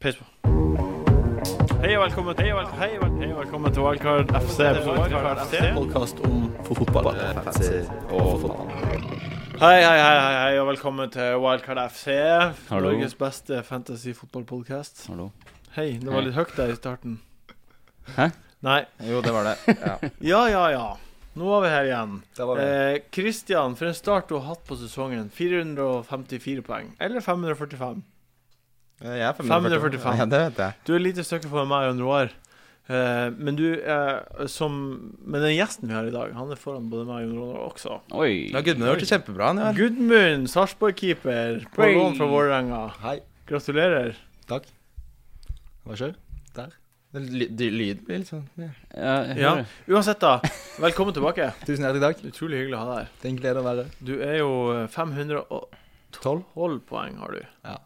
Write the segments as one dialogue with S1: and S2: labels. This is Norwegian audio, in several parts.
S1: Pis på. Hei og velkommen til Hei og velkommen, hei og velkommen, hei og velkommen til Wildcard FC. Wildcard FC.
S2: podkast om fotball. Fancy og fotball.
S1: Hei, hei, hei, hei, hei og velkommen til Wildcard FC.
S3: Hallo.
S1: Norges beste fantasy-fotballpodkast.
S3: Hallo.
S1: Hei, det var
S3: Hei.
S1: litt høyt der i starten.
S3: Hæ?
S1: Nei.
S2: Jo, det var det.
S1: Ja, ja, ja. Nå er vi her igjen.
S2: Det var det.
S1: Eh, Christian, for en start du har hatt på sesongen. 454 poeng. Eller 545.
S2: Eh, Jeg er
S1: 545.
S2: Ja, det vet jeg.
S1: Du er et lite stykke foran meg og Noir. Eh, men du eh, som Men den gjesten vi har i dag, han er foran både meg og Jon Roar også.
S3: Oi.
S2: Ja, Gudmund har gjort det kjempebra. Han, ja.
S1: Gudmund, Sarpsborg-keeper, på
S3: Oi.
S1: lån fra Vålerenga.
S2: Hei.
S1: Gratulerer.
S2: Takk. Hva skjer? Der. Det ly- dy- Lyd blir litt sånn ja.
S3: Ja, jeg
S1: Ja.
S3: hører.
S1: Uansett, da. Velkommen tilbake.
S2: Tusen hjertelig takk.
S1: Utrolig hyggelig å ha deg her.
S2: Det er en glede å være
S1: Du er jo eh, 512
S2: tolv.
S1: poeng, har du.
S2: Ja.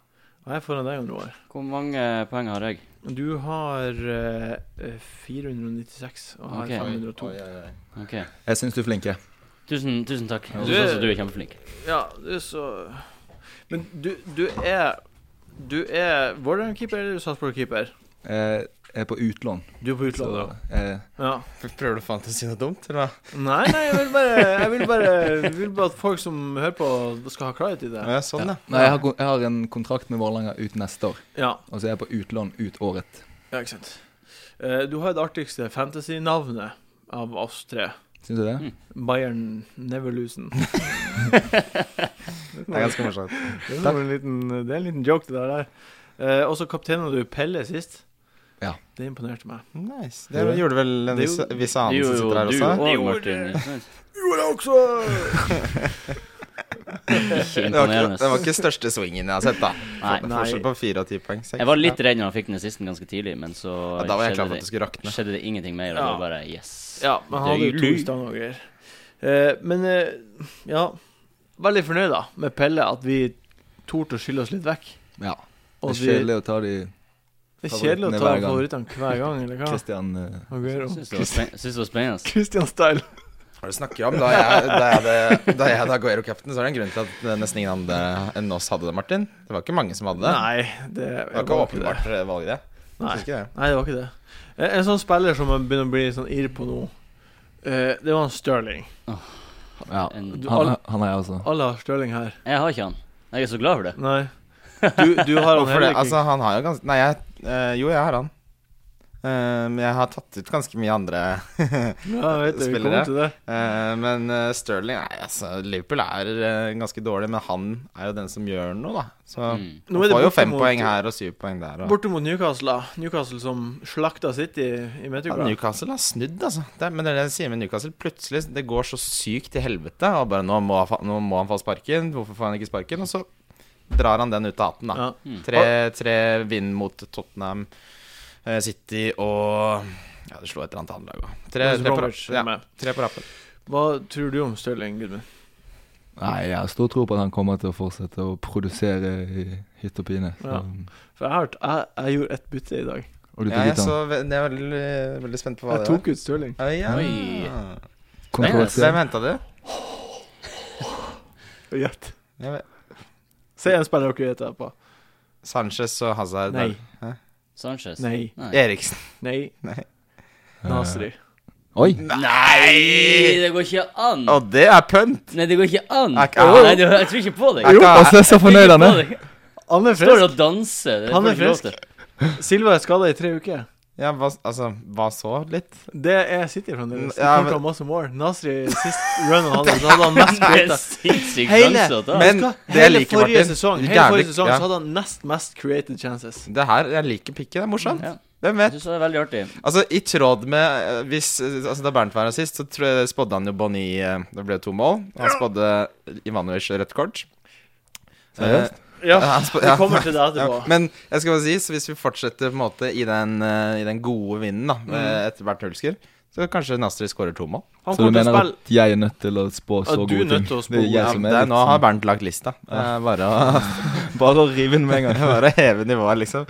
S1: Og jeg er foran deg, Jon Roar.
S3: Hvor mange poeng har jeg?
S1: Du har eh, eh, 496, og jeg
S3: Ok.
S1: har 502.
S3: Ok.
S2: Jeg syns du er flink. jeg.
S3: Tusen, tusen takk.
S1: Ja.
S3: Jeg synes også du er kjempeflink.
S1: Ja, du er så Men du, du er Du er Vålerenga-keeper eller Sarpsborg-keeper?
S4: Eh, Jeg er på utlån.
S1: Du er på utlandet,
S4: så, eh,
S1: da. Ja.
S2: Prøver du faen til å si noe dumt, eller hva?
S1: Nei, nei, jeg vil bare Jeg vil bare, jeg vil bare at folk som hører på, skal ha klarhet i det.
S2: Ja, sånn, ja.
S4: Nei, jeg har, kon- jeg har en kontrakt med Vålerenga ut neste år,
S1: Ja,
S4: og så er jeg på utlån ut året.
S1: ja ikke sant. Eh, Du har det artigste fantasy-navnet av oss tre.
S4: Syns du det?
S1: Bayern Neverlusen.
S2: Det er ganske morsomt.
S1: Det er en liten, det er en liten joke, det der. der. Eh, Og så kapteina du Pelle sist.
S4: Ja.
S1: Det imponerte meg.
S2: Nice. Det gjorde vel en
S1: Det er
S2: viss,
S1: jo-
S2: viss
S3: Du
S2: annen som sitter her
S3: og du
S2: også.
S3: og Martin.
S1: Gjorde jeg også!
S3: Ikke
S2: Det var, ikke, det
S3: imponerende.
S2: var ikke største swingen jeg har sett, da. Det er
S3: Nei.
S2: Forskjell på fire og ti poeng. seks.
S3: Jeg var litt
S2: Ja.
S3: redd når han fikk den siste ganske tidlig, men så
S2: ja, Da var jeg klar for
S3: skjedde,
S2: at det skulle rakne.
S3: det, skjedde det ingenting mer. Og
S1: Ja.
S3: det var bare yes.
S1: Ja, men han hadde jo to
S3: Deilig.
S1: stang og greier. Eh, men eh, ja Veldig fornøyd da med Pelle, at vi torde å skylle oss litt vekk.
S4: Ja.
S1: Og
S4: Det er
S1: at vi,
S4: kjedelig å ta de
S1: det er kjedelig å
S4: favorittene
S1: ta
S4: hver gang.
S1: favorittene hver gang, eller hva?
S4: Christian eh,
S1: Aguero.
S3: Syns det var spen- syns det var spennende.
S1: Christian Style.
S2: Hva er det du snakker om? Da jeg, da jeg, hadde- da jeg hadde Aguero-captain, så er det en grunn til at eh, nesten ingen andre enn oss hadde det, Martin. Det var ikke mange som hadde det.
S1: Nei, det
S2: det var ikke åpenbart valg, det.
S1: Nei.
S2: Synes ikke det.
S1: Nei, det var ikke det. Eh, En sånn spiller som man begynner å bli sånn irr på nå, eh, det var en Sterling.
S4: Ja.
S3: En-
S1: Du-
S4: Han, han er altså- jeg også.
S1: Alle har Sterling her.
S3: Jeg har ikke han. Jeg er så glad for det.
S1: Nei. Du, du har han
S2: Hvorfor det?
S1: heller ikke.
S2: Altså, han har jo ganske Nei, jeg eh, Jo, jeg har han. Eh, Men jeg har tatt ut ganske mye andre
S1: ja, jeg vet det. Vi
S2: spiller
S1: kommer
S2: det.
S1: til det.
S2: Eh, Men eh, Sterling Nei, altså, Liverpool er eh, ganske dårlig, men han er jo den som gjør noe, da. Så
S3: Mm.
S1: Nå er
S2: han
S1: det
S2: får jo
S1: borte
S2: fem
S1: mot-
S2: poeng her og syv poeng der. Og.
S1: Borte mot Newcastle, da. Newcastle som slakta City i
S2: Ja,
S1: midtuka.
S2: Newcastle har snudd, altså. Det, er- men det er det jeg sier med Newcastle. Plutselig det går så sykt til helvete. Og bare nå må, han fa- nå må han få sparken. Hvorfor får han ikke sparken? Og så drar han den ut av hatten, da.
S1: Ja.
S2: Tre, tre vinn mot Tottenham eh, City og Ja, det slo et eller annet annet lag òg. Tre,
S1: West
S2: tre, på
S1: Bromwich
S2: rappen.
S1: er
S2: ja,
S1: med.
S2: tre på rappen.
S1: Hva tror du om Stirling, Gudmund?
S4: Nei, jeg har stor tro på at han kommer til å fortsette å produsere i hytt og pine. Så.
S1: Ja. For jeg, har hørt, jeg, jeg gjorde ett bytte i dag.
S4: Og du
S2: Ja,
S4: tok
S2: jeg,
S4: ut han.
S2: så, ve- jeg er veldig, veldig spent på hva
S1: Jeg
S2: det var.
S1: tok ut Stirling.
S2: Ah, ja.
S3: Oi.
S4: Kontroversiell.
S2: Hvem henta du?
S1: Gjett.
S2: Jeg vet-
S1: Se en spiller dere gjetter på.
S2: Sanchez og Hazard.
S1: Nei.
S3: Sanchez.
S1: Nei.
S2: Eriksen.
S1: Nei.
S2: Nei.
S4: Eh.
S1: Nasri.
S4: Oi!
S3: Nei,
S2: Nei!
S3: det går ikke an!
S2: Og det er pønt!
S3: Nei, det går ikke an!
S2: Er ikke-
S3: Nei, det- jeg tror ikke på deg.
S2: Er
S4: Jo,
S2: ikke-
S4: og så er så
S3: Jeg tror ikke
S4: fornøyd han
S3: på
S4: er.
S3: deg.
S1: Han er
S3: Står
S1: frisk.
S3: og danser. Det
S1: Han er
S3: får du ikke lov
S1: frisk.
S3: til.
S1: Silva er skada i tre uker.
S2: Ja, hva, altså, hva så? Litt?
S1: Det er City fremdeles.
S2: Mm, Ja,
S1: Ja,
S2: men-
S1: men... masse mål. Nasri sist run han hadde, så hadde han mest
S3: Det er
S1: created.
S3: sinnssykt
S1: Hele,
S3: dansete.
S2: Men
S1: Husker,
S2: det jeg
S1: hele
S2: liker,
S1: forrige
S2: Martin,
S1: sesong Hele
S2: jævlig-
S1: forrige sesong
S2: ja.
S1: så hadde han nest mest created chances.
S2: Det her, Jeg liker pikken. Det er morsomt.
S3: Ja.
S2: Hvem vet?
S3: Jeg synes det er veldig artig.
S2: Altså, i tråd med eh, hvis, eh, altså, Da Bernt var her sist, så tror jeg spådde han jo Bonny eh, Det ble to mål. Han spådde Ivanovic rødt kort.
S4: Seriøst?
S2: Eh,
S1: Ja,
S2: han spå-
S1: vi
S2: ja.
S1: kommer til det
S2: ja,
S1: etterpå.
S2: men jeg skal bare si, så hvis vi fortsetter på en måte i den, eh, i den gode vinden da med- etter Bernt Hulsker, så kanskje Nastri skårer to mål.
S1: Han
S4: Så du
S1: kommer til
S4: mener
S1: å spille
S4: at jeg er nødt til å spå så
S1: du er
S4: gode ting?
S1: nødt til å spå
S4: Det er
S1: gode
S4: jeg
S2: Ja,
S4: som
S2: det,
S4: er
S2: er- nå har
S4: litt
S2: Bernt lagt lista. Eh, bare, å,
S4: sånn Bare å rive den med en gang.
S2: bare heve nivået, liksom.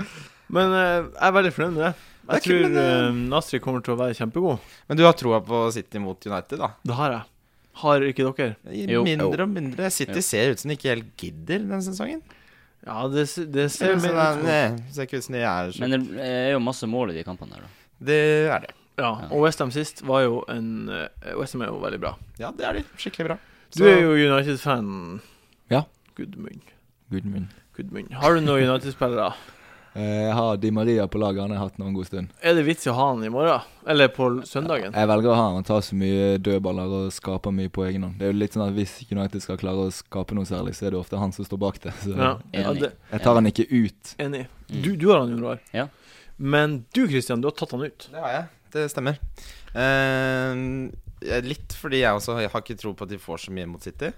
S1: Men eh, jeg er veldig fornøyd med det. Jeg
S2: Det er
S1: tror
S2: kult, men,
S1: eh, Nasri kommer til å være kjempegod.
S2: Men du har troa på City mot United, da?
S1: Det har jeg. Har ikke dere?
S2: I
S3: Jo.
S2: mindre og mindre. City
S3: Jo.
S2: ser ut som de ikke helt gidder denne sesongen.
S1: Ja, eh, det, s- det ser
S2: Ser
S1: mer
S2: sånn,
S1: ut som
S2: nei, ser ikke ut som de er så
S3: Men det er jo masse mål i de kampene der, da.
S2: Det er det.
S1: Ja, og Westham sist var jo en eh, Westham er jo veldig bra.
S2: Ja, det er de. Skikkelig bra.
S1: Du er jo United-fan.
S4: Ja.
S1: Gudmund.
S4: Guden min.
S1: Gudmund. Har du noen United-spillere?
S4: Eh, Jeg har Di Maria på laget, han har jeg hatt nå en god stund.
S1: Er det vits i å ha han i morgen? Eller på l- søndagen?
S4: Jeg velger å ha han. Han tar så mye dødballer og skaper mye på egen hånd. Det er jo litt sånn at Hvis United skal klare å skape noe særlig, så er det ofte han som står bak det. Så
S1: Ja, ja det,
S4: jeg tar han ikke ut.
S1: enig.
S3: Mm.
S1: Du, du har han, Jon Roar.
S3: Ja.
S1: Men du, Christian, du har tatt han ut.
S2: Det har jeg. Det stemmer. Eh, litt fordi jeg også jeg har ikke tro på at de får så mye mot City.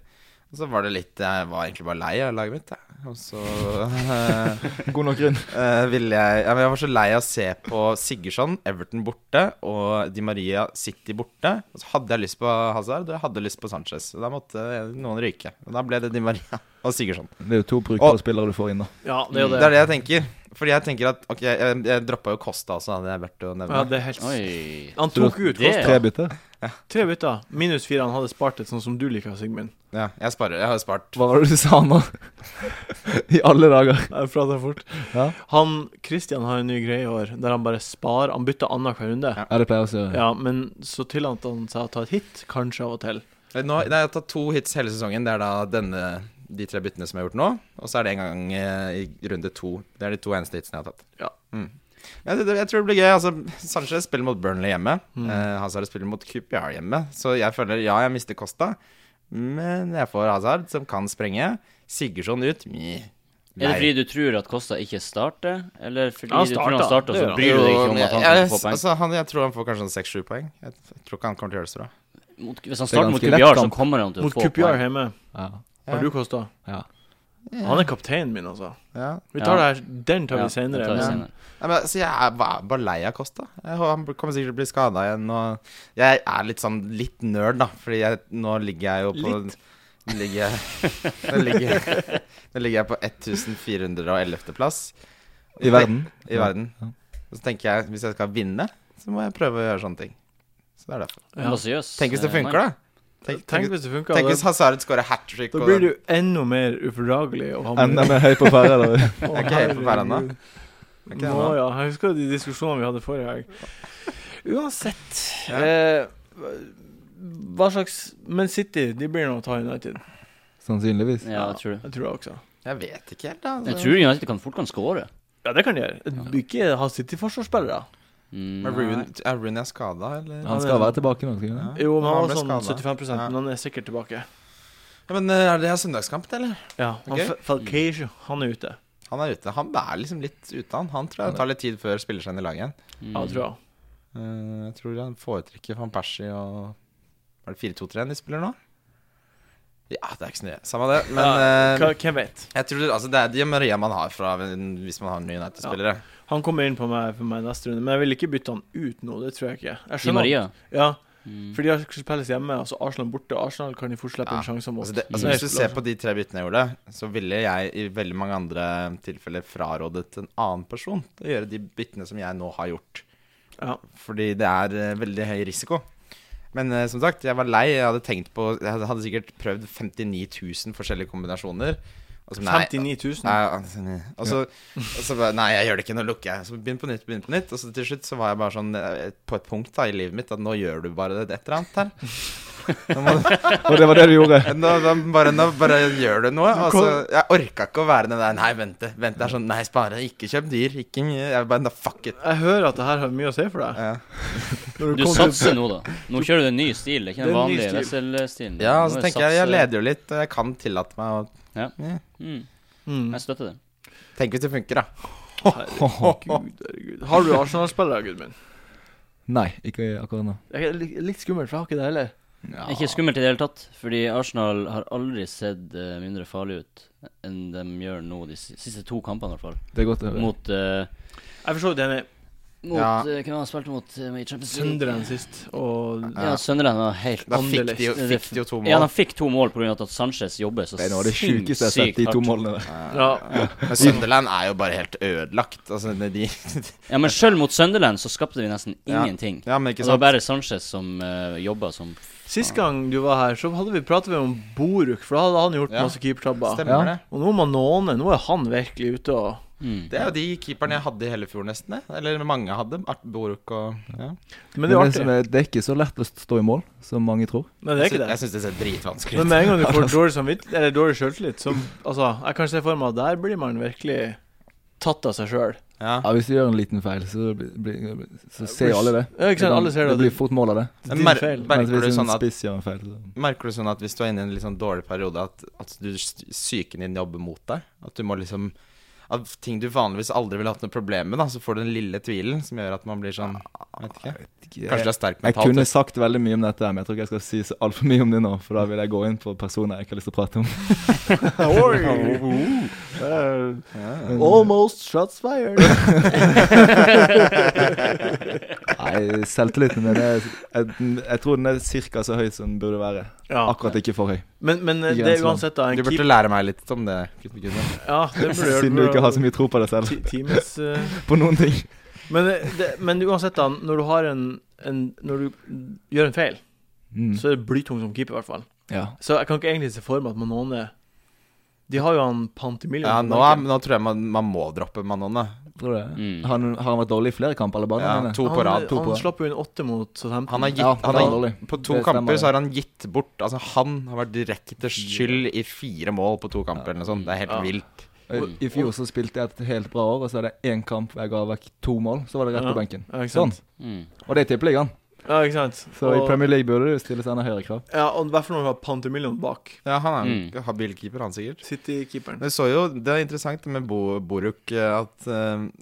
S2: Og så var det litt Jeg var egentlig bare lei av laget mitt, jeg. Og så eh,
S4: God nok grunn.
S2: eh, ville jeg ja, men Jeg var så lei av å se på Sigurdsson, Everton borte og Di Maria City borte. Og så hadde jeg lyst på Hazard, og jeg hadde lyst på Sanchez. Og da måtte noen ryke. Og da ble det Di Maria og Sigurdsson.
S4: Det er jo to brukbare
S2: Og-
S4: spillere du får inn, da.
S1: Ja, det er jo
S2: Mm. Det
S1: det.
S2: er det jeg tenker. Fordi jeg tenker at Ok, jeg, jeg droppa jo Costa også, hadde jeg vært å
S1: Ja,
S2: nevne.
S1: det er helt s-
S3: Oi.
S1: Han tok ut
S3: Det-
S1: Costa.
S4: Tre bytter.
S1: Tre bytter. Minus fire. Han hadde spart et, sånn som du liker, Sigmund.
S2: Ja, jeg sparer. Jeg har spart
S4: Hva var det du sa nå? I alle dager.
S1: Jeg prater fort.
S4: Ja.
S1: Han, Christian har en ny greie i år, der han bare sparer. Han bytter annenhver runde.
S2: Ja.
S4: Ja, det pleier jeg også å gjøre.
S1: Ja, men så tillater han seg å ta et hit, kanskje av og til.
S2: Nå, nei, jeg har tatt to hits hele sesongen. Det er da denne, de tre byttene som jeg har gjort nå. Og så er det en gang eh, i runde to. Det er de to eneste hitsene jeg har tatt.
S1: Ja.
S2: Mm. Jeg, jeg, jeg tror det blir gøy. Altså, Sanchez spiller mot Burnley hjemme. Mm. Hazard spiller mot QPR hjemme. Så jeg føler ja, jeg mister Costa, men jeg får Hazard, som kan sprenge. Sigurdsson ut. Mjau.
S3: Er det fordi du tror at Kosta ikke starter, eller fordi
S1: Han
S3: du tror han
S1: starter.
S3: starter, og
S1: Det
S3: så
S1: gjør han.
S3: bryr du deg ikke om at han
S2: jeg,
S3: kan få poeng?
S2: altså, han, jeg tror han får kanskje sånn seks-sju poeng. Jeg, jeg tror ikke han kommer til å gjøre det så bra.
S3: Mot, hvis han
S4: Det er
S3: starter mot
S4: ganske lett
S3: Kupiar, så
S4: kamp.
S3: kommer han til å
S1: Mot
S3: få
S1: Coopyar
S3: poeng.
S1: hjemme.
S4: Ja.
S2: Ja.
S1: Har du Kosta?
S4: Ja.
S1: Han er kapteinen min, altså.
S2: Ja.
S1: Vi tar
S3: Ja.
S1: det her, Den tar vi senere.
S3: det tar vi
S1: men-
S3: senere.
S2: Nei, men, altså, jeg er bare, bare lei av Kosta. Jeg hå- Han kommer sikkert til å bli skada igjen. Og jeg er litt sånn litt nerd, da, fordi jeg, nå ligger jeg jo på Nå ligger jeg, nå, ligger jeg, nå ligger jeg på 1411.-plass
S4: I verden.
S2: I verden.
S4: Ja.
S2: Og så tenker jeg hvis jeg skal vinne, så må jeg prøve å gjøre sånne ting. Så det er derfor.
S1: Ja.
S3: Ambisiøs.
S2: Tenk hvis det
S3: eh,
S2: funker,
S3: mann.
S2: da. Tenk,
S1: Tenk
S2: tenk,
S1: hvis det funker.
S2: tenk hvis
S1: Da,
S2: Hazard scorer hat trick.
S1: da blir du enda mer ufordragelig. å ha med-
S4: Enda mer høy på pæra, da.
S1: Å,
S2: er ikke helt på pæra ennå.
S1: herregud.
S2: Er ikke det
S1: Nå,
S2: ennå.
S1: ja. Jeg husker de diskusjonene vi hadde forrige helg. Uansett eh, Hva slags Men City de blir nå å ta United.
S4: Sannsynligvis.
S3: Ja, jeg tror det.
S1: Jeg tror det også.
S2: Jeg vet ikke helt, da.
S3: Jeg tror United kan fort kan score.
S1: Ja, det kan de gjøre. Ikke ha City-forsvarsspillere.
S3: Mm,
S2: Men Rooney- Er Rooney skada, eller?
S4: Han skal være tilbake nå, skal han ikke det?
S1: Jo, men han var
S2: ble
S1: sånn
S2: skadet.
S1: 75
S2: Ja.
S1: men han er sikkert tilbake.
S2: Ja, men eh, er det søndagskamp, eller?
S1: Ja, han
S2: Ok.
S1: Fa- Falcao, han er ute.
S2: Han er ute. Han er liksom litt ute, han. Han tror jeg tar litt tid før spiller seg inn i laget igjen.
S3: mm.
S1: Ja, tror jeg.
S2: Eh, jeg tror han foretrekker van Persie og Er det 4-2-3 de spiller nå? Ja, det er ikke så nøye. Samme det. Men
S1: Mm. Ja,
S2: eh,
S1: hva- Hvem vet?
S2: jeg tror altså, det er de Maria man har fra en- hvis man har nye United-spillere.
S1: Han kommer inn på meg for meg neste runde, men jeg vil ikke bytte han ut nå. Det tror jeg ikke. Jeg
S3: Di
S1: skjønner
S3: Maria.
S1: Ja,
S3: Mm.
S1: for de har spilles hjemme, altså Arsenal borte. Arsenal kan de fort slippe
S2: Ja,
S1: en sjanse mot.
S2: Altså, det, altså,
S1: Nei,
S2: hvis du ser på de tre byttene jeg gjorde, så ville jeg i veldig mange andre tilfeller frarådet en annen person til å gjøre de byttene som jeg nå har gjort.
S1: Ja.
S2: Fordi det er eh, veldig høy risiko. Men eh, som sagt, jeg var lei. Jeg hadde tenkt på Jeg hadde sikkert prøvd 59 000 forskjellige kombinasjoner. Og så, nei,
S1: 59 000.
S2: Nei, altså, nei. og så, og så bare, nei, jeg gjør det ikke, nå lukker jeg. Så begynn på nytt, begynn på nytt. Og så til slutt så var jeg bare sånn eh, på et punkt da i livet mitt at nå gjør du bare det et eller annet her. Nå må du
S4: Og det var det du gjorde.
S2: nå, nå, bare, nå bare gjør du noe.
S1: Du
S2: Altså,
S1: kom-
S2: jeg orka ikke å være den der Nei, vente. vente det er sånn, Nei, spare. Ikke kjøp dyr. Ikke mye. Jeg bare, da, fuck it.
S1: Jeg hører at det her har mye å si for deg.
S2: Ja.
S1: Når
S3: Du
S1: kom til-
S3: satser nå, da. Nå kjører du en ny stil. Det er
S1: Det
S3: ikke den
S1: er en ny
S3: vanlige
S1: stil.
S3: Wessel-stilen.
S2: Ja,
S3: Nå
S2: og så
S3: er
S2: tenker jeg jeg
S3: satser-
S2: leder jo litt, og jeg kan tillate meg å
S3: Mm.
S1: Mm.
S3: Jeg støtter det.
S2: Tenk hvis det funker, da.
S1: Herregud, herregud. Har du Arsenal-spillere, Gudmund?
S4: Nei, ikke akkurat nå.
S1: Det er li- litt skummelt, for jeg har ikke det heller.
S4: Ja.
S3: Ikke skummelt i det hele tatt, fordi Arsenal har aldri sett eh, mindre farlig ut enn de gjør nå, de si- siste to kampene i hvert fall.
S4: Det er godt å høre.
S3: Mot eh,
S1: Jeg forstår det enig.
S3: Mot,
S2: Ja.
S3: eh, Hvem var det han spilte mot eh, i Champions League?
S1: Sønderen sist, og
S3: Ja, Sønderen var helt
S2: Da fikk de, jo,
S3: Anderlecht.
S2: fikk de jo to mål.
S3: Ja, han fikk to mål pga. at Sanchez jobber så
S4: Det er noe av det sjukeste jeg har sett, de to målene der.
S1: ja.
S2: Men Sunderland er jo bare helt ødelagt. Altså, de,
S3: Ja, men sjøl mot Sunderland så skapte de nesten
S2: Ja.
S3: ingenting.
S2: ja, men
S3: Og
S2: ikke
S3: det var
S2: sant?
S3: bare Sanchez som uh, jobba som
S1: Sist gang du var her, så hadde vi pratet om Boruk, for da hadde han gjort
S2: Ja.
S1: masse keepertabber.
S2: Stemmer
S4: Ja.
S2: det.
S1: Og nå er Manone, nå er han virkelig ute og
S3: mm.
S2: Det er jo de keeperne jeg hadde i hele fjor, nesten. det. Eller mange hadde. Art Boruk og ja.
S1: Men
S4: Men
S1: det er
S4: det,
S1: artig.
S4: som er, det er ikke så lett å stå i mål, som mange tror.
S1: Men det er
S2: Jeg
S1: ikke
S2: sy-
S1: det.
S2: Jeg syns det ser dritvanskelig
S1: Men
S2: ut.
S1: med en gang du får dårlig samvittighet, eller dårlig selvtillit, som Altså, jeg kan se for meg at der blir man virkelig tatt av seg sjøl.
S2: Ja.
S4: Ja, Hvis du gjør en liten feil, så, blir- blir, så ser jo alle det.
S1: Ja, ikke sant? Alle ser det.
S4: det blir fort mål av det.
S1: Det er
S2: Men
S1: din
S2: mer,
S1: feil.
S4: Mens
S2: merker, du
S4: hvis en
S2: sånn at,
S4: spiss gjør en feil, så
S2: merker du sånn at hvis du er inne i en litt sånn dårlig periode, at, at du, psyken din jobber mot deg? At du må liksom At ting du vanligvis aldri ville hatt noe problem med, da, så får du den lille tvilen som gjør at man blir sånn jeg Vet ikke. Kanskje du er sterk
S4: Jeg
S2: mentalt?
S4: kunne sagt veldig mye om dette, her, men jeg tror ikke jeg skal si så altfor mye om det nå. For da vil jeg gå inn på personer jeg ikke har lyst til å prate om.
S1: Oi! Eh, almost shots fired.
S4: Nei, selvtilliten min er jeg, jeg tror den er ca. så høy som den burde være.
S1: Ja.
S4: Akkurat ikke for høy.
S1: Men, men eh, det er
S4: Grenseland.
S1: uansett, da. En
S2: Du burde
S1: keep,
S2: lære meg litt om det. Kutt, kutt, kutt.
S1: ja, det burde
S4: Siden du ikke har så mye tro på deg selv.
S1: Ti- Times eh,
S4: På noen ting.
S1: men, eh, det, men uansett, da. Når du har en, en Når du gjør en feil,
S4: Mm.
S1: så er det blytung som keeper, i hvert fall.
S4: Ja.
S1: Så jeg kan ikke egentlig se for meg at Manone De har jo han Pantemilion.
S2: Ja,
S1: på
S2: nå, er,
S1: benken.
S2: nå tror jeg man, man må droppe Manone.
S4: Tror du det?
S3: Mm.
S4: Har, han, har han vært dårlig i flere kamper, eller bare
S2: Ja,
S4: denne?
S2: to på
S1: han,
S2: rad.
S4: to på
S1: han
S4: rad.
S1: slapp jo inn åtte mot Southampton.
S2: Han har gitt,
S4: Ja,
S2: han
S4: det er
S2: har,
S4: dårlig.
S2: på to
S4: Det stemmer,
S2: kamper så
S4: det.
S2: har han gitt bort Altså, han har vært direkte skyld i fire mål på to kamper. Eller noe sånt. Det er helt
S1: Ja.
S2: vilt.
S4: I fjor så spilte jeg et helt bra år, og så hadde jeg én kamp hvor jeg ga vekk to mål. Så var det rett
S1: Ja.
S4: på benken.
S1: Ja, ikke
S4: Sånn.
S1: sant?
S3: mm.
S4: Og det er tippeligaen.
S1: Ja, ikke sant?
S4: Så i
S1: Og-
S4: Premier League burde det stilles enda høyere krav.
S1: Ja, og i hvert fall når du har Pantemilion bak.
S2: Ja, han er en
S3: Mm.
S2: habil keeper, han sikkert.
S1: City-keeperen.
S2: Det, så jo, det er interessant med Bo, Boruk eh, at eh, da,
S4: Han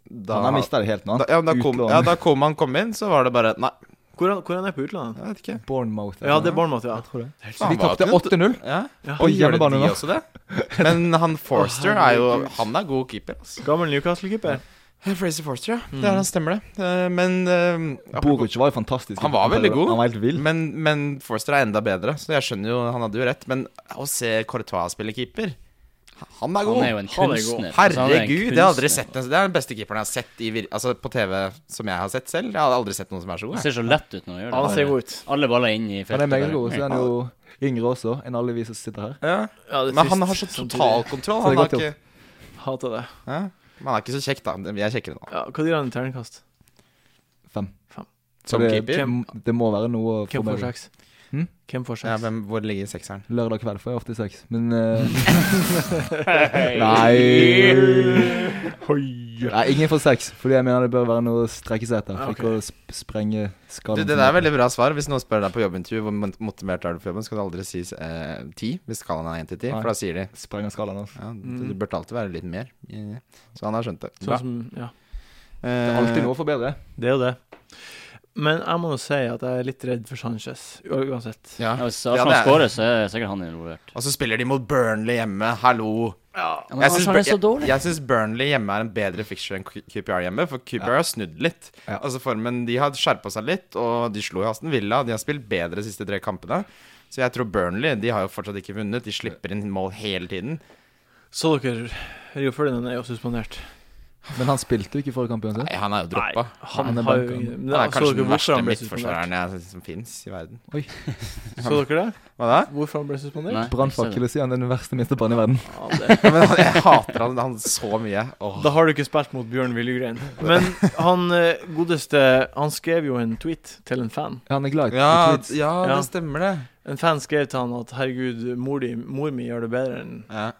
S4: har mista det helt nå.
S2: da, ja, men da, kom,
S4: Utlån.
S2: ja, da kom han kom inn, så var det bare Nei,
S1: Hvor, han- hvor han er på utlandet?
S2: jeg vet ikke.
S4: Bournemouth.
S1: Ja, det er Bournemouth, ja.
S4: Jeg tror det.
S2: Faen,
S4: De
S2: han var
S4: tapte
S2: jo ikke-
S4: 8-0.
S2: Ja.
S1: Ja.
S4: Og
S2: Gjør de
S4: hjemmebane nå.
S2: også det? Men han Forster er jo Han er god keeper, altså.
S1: Gammel Newcastle-keeper.
S2: Fraser Forster, ja.
S1: Mm.
S2: Det er han stemmer, det. Eh, Men eh, apropos-
S4: Boruc var jo fantastisk.
S2: Han var veldig god.
S4: Han var helt vill.
S2: Men, men Forster er enda bedre, så jeg skjønner jo Han hadde jo rett. Men å se Courtois spille keeper Han er god!
S3: Han er jo en
S1: Han er god.
S3: kunstner. Altså, han er en
S2: Herregud, det har jeg aldri
S3: kunstner.
S2: sett en- Det er den beste keeperen jeg har sett i, vir- altså, på TV som jeg har sett selv. Jeg har aldri sett noen som er så
S1: Altså,
S3: Han
S2: god. jeg.
S3: ser så lett ut når han gjør det.
S1: Han ser god ut.
S3: Alle baller inn i
S4: Han
S3: feltet.
S4: er meget
S3: bare.
S4: god, så er han jo yngre også enn alle vi som sitter her.
S2: Ja.
S1: Ja, det er
S2: Men han
S1: trist,
S2: har så
S1: samtidig.
S2: totalkontroll.
S4: Så det
S2: Han,
S4: er
S2: har
S4: godt
S2: ikke-
S1: Hater det.
S2: ja. Men han er ikke så kjekk, da. Vi er kjekkere nå.
S1: Ja, Hva gir han i terningkast?
S4: Fem. Så
S2: Som
S4: det,
S2: keeper.
S4: det- det må være noe å få
S1: Hvem
S4: med.
S1: får
S4: seg.
S1: seks?
S4: Hm?
S1: Hvem får
S2: Ja,
S1: seks?
S2: hvem, hvor ligger sekseren?
S4: Lørdag kveld får jeg ofte seks, men eh, Nei, ingen får seks, fordi jeg mener det bør være noe å strekke seg etter. For
S1: Ok.
S4: ikke å sp sprenge
S2: Du,
S4: skallen.
S2: det der er veldig bra svar. Hvis noen spør deg på jobbintervju hvor mot- motivert er du for jobben, skal du aldri si eh, ti, hvis skalaen er én til ti.
S4: Nei.
S2: For da sier de
S4: Sprenger skalaen hans.
S2: Ja,
S1: Mm.
S2: det det burde alltid være litt mer. Så han har skjønt det.
S1: Sånn som, ja.
S2: Eh.
S4: Det er alltid noe å forbedre.
S1: Det er jo det. Men jeg må jo si at jeg er litt redd for Sanchez, u- uansett.
S2: Ja.
S3: Ja, Hvis
S2: Ja,
S3: Arsenal
S2: det er-
S3: scorer, så er sikkert han involvert.
S2: Og så spiller de mot Burnley hjemme, hallo!
S1: Ja,
S3: Ja, men
S2: synes
S3: Arsenal er
S2: Bur-
S3: så dårlig.
S2: Jeg, jeg syns Burnley hjemme er en bedre fixture enn Q- QPR hjemme, for QPR har snudd litt.
S4: Ja.
S2: Altså formen, De har skjerpa seg litt, og de slo i Aston Villa. De har spilt bedre de siste tre kampene. Så jeg tror Burnley de har jo fortsatt ikke vunnet. De slipper inn mål hele tiden.
S1: Så dere, Rio Ferdinand er jo suspendert.
S4: Men han spilte jo ikke i forrige kamp uansett.
S2: Nei, han er jo droppa.
S1: Han,
S4: Han er
S1: har jo
S4: banka.
S1: ingen
S2: Han er
S1: Så
S2: kanskje
S1: dere
S2: den
S1: hvorfor
S2: verste
S1: han ble suspendert?
S2: midtforsvareren jeg- som fins i verden.
S1: Så dere det?
S2: Hva da?
S1: Hvorfor han ble suspendert?
S3: Nei,
S4: Brannfakkel sier han er den verste midtbanen i verden.
S1: Ja, det.
S2: Ja, men han, jeg hater han, han så mye. Åh.
S1: Da har du ikke spilt mot Bjørn Willegren. Men han eh, godeste Han skrev jo en tweet til en fan.
S4: Han er glad i
S2: Ja,
S4: i tweets.
S2: ja,
S1: Ja.
S2: det stemmer, det.
S1: En fan skrev til han at 'herregud, mor, di, mor mi gjør det bedre enn
S2: Ja.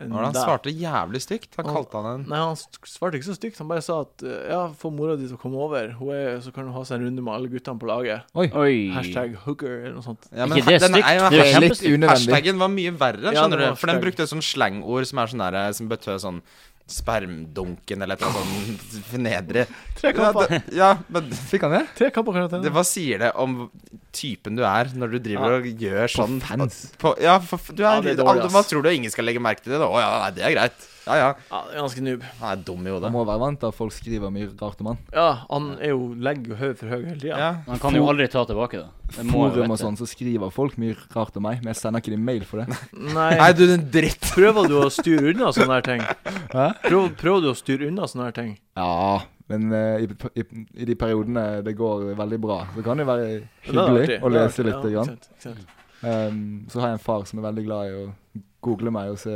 S1: enn
S2: Hva var det
S1: deg'.
S2: han svarte jævlig stygt. Han
S1: Han-
S2: kalte han en
S1: Nei, han s- svarte ikke så stygt. Han bare sa at eh, 'ja, få mora di til å komme over, Hun er, så kan hun ha seg en runde med alle guttene på laget'.
S3: Oi.
S1: Hashtag hooker eller noe sånt.
S2: ja,
S3: Ikke det
S2: den
S3: stygt,
S2: jo-
S3: det er jo
S4: Litt
S3: kjempestygt.
S4: unødvendig.
S2: Hashtagen var mye verre,
S1: Ja,
S2: skjønner
S1: det var
S2: du. For den
S1: hashtag.
S2: brukte et sånt slangord eh, som er sånn der, som betød sånn spermdunken eller et eller annet sånt fornedre.
S1: Tre
S2: Ja,
S1: kamper.
S2: det- ja, men
S4: Fikk han det?
S1: Tre kamper kan jeg
S2: det,
S1: tenne.
S2: hva sier det om typen du er, når du driver og gjør sånn?
S4: fans.
S2: På, ja, for, for- du er,
S1: Ja, det er dårlig,
S2: alle- Hva
S1: ass.
S2: tror du ingen skal legge merke til det? da? Å ja, nei, det er greit. Ja, ja.
S1: Ja, det er ganske noob.
S2: Han er dum i hodet.
S4: Man må være vant til at folk skriver mye rart om han.
S1: Ja, han er jo legger jo høy for høy hele tida.
S2: Ja.
S3: Han kan jo aldri ta tilbake, da. Det må jo
S4: Forum og
S3: vite.
S4: sånn, så skriver folk mye rart om meg, men jeg sender ikke dem mail for det.
S1: Nei,
S2: Nei, du, den dritt.
S1: prøver du å styre unna sånne her ting?
S4: Hæ?
S1: Prøv, prøver du å styre unna sånne her ting?
S4: Ja, men eh, i, i, i de periodene det går veldig bra, så kan det være
S1: Det er
S4: hyggelig
S1: artig.
S4: å
S1: Det er
S4: lese
S1: artig,
S4: litt.
S1: ja,
S4: grann.
S1: ikke sant, ikke sant.
S4: Ehm, så har jeg en far som er veldig glad i å google meg og, se,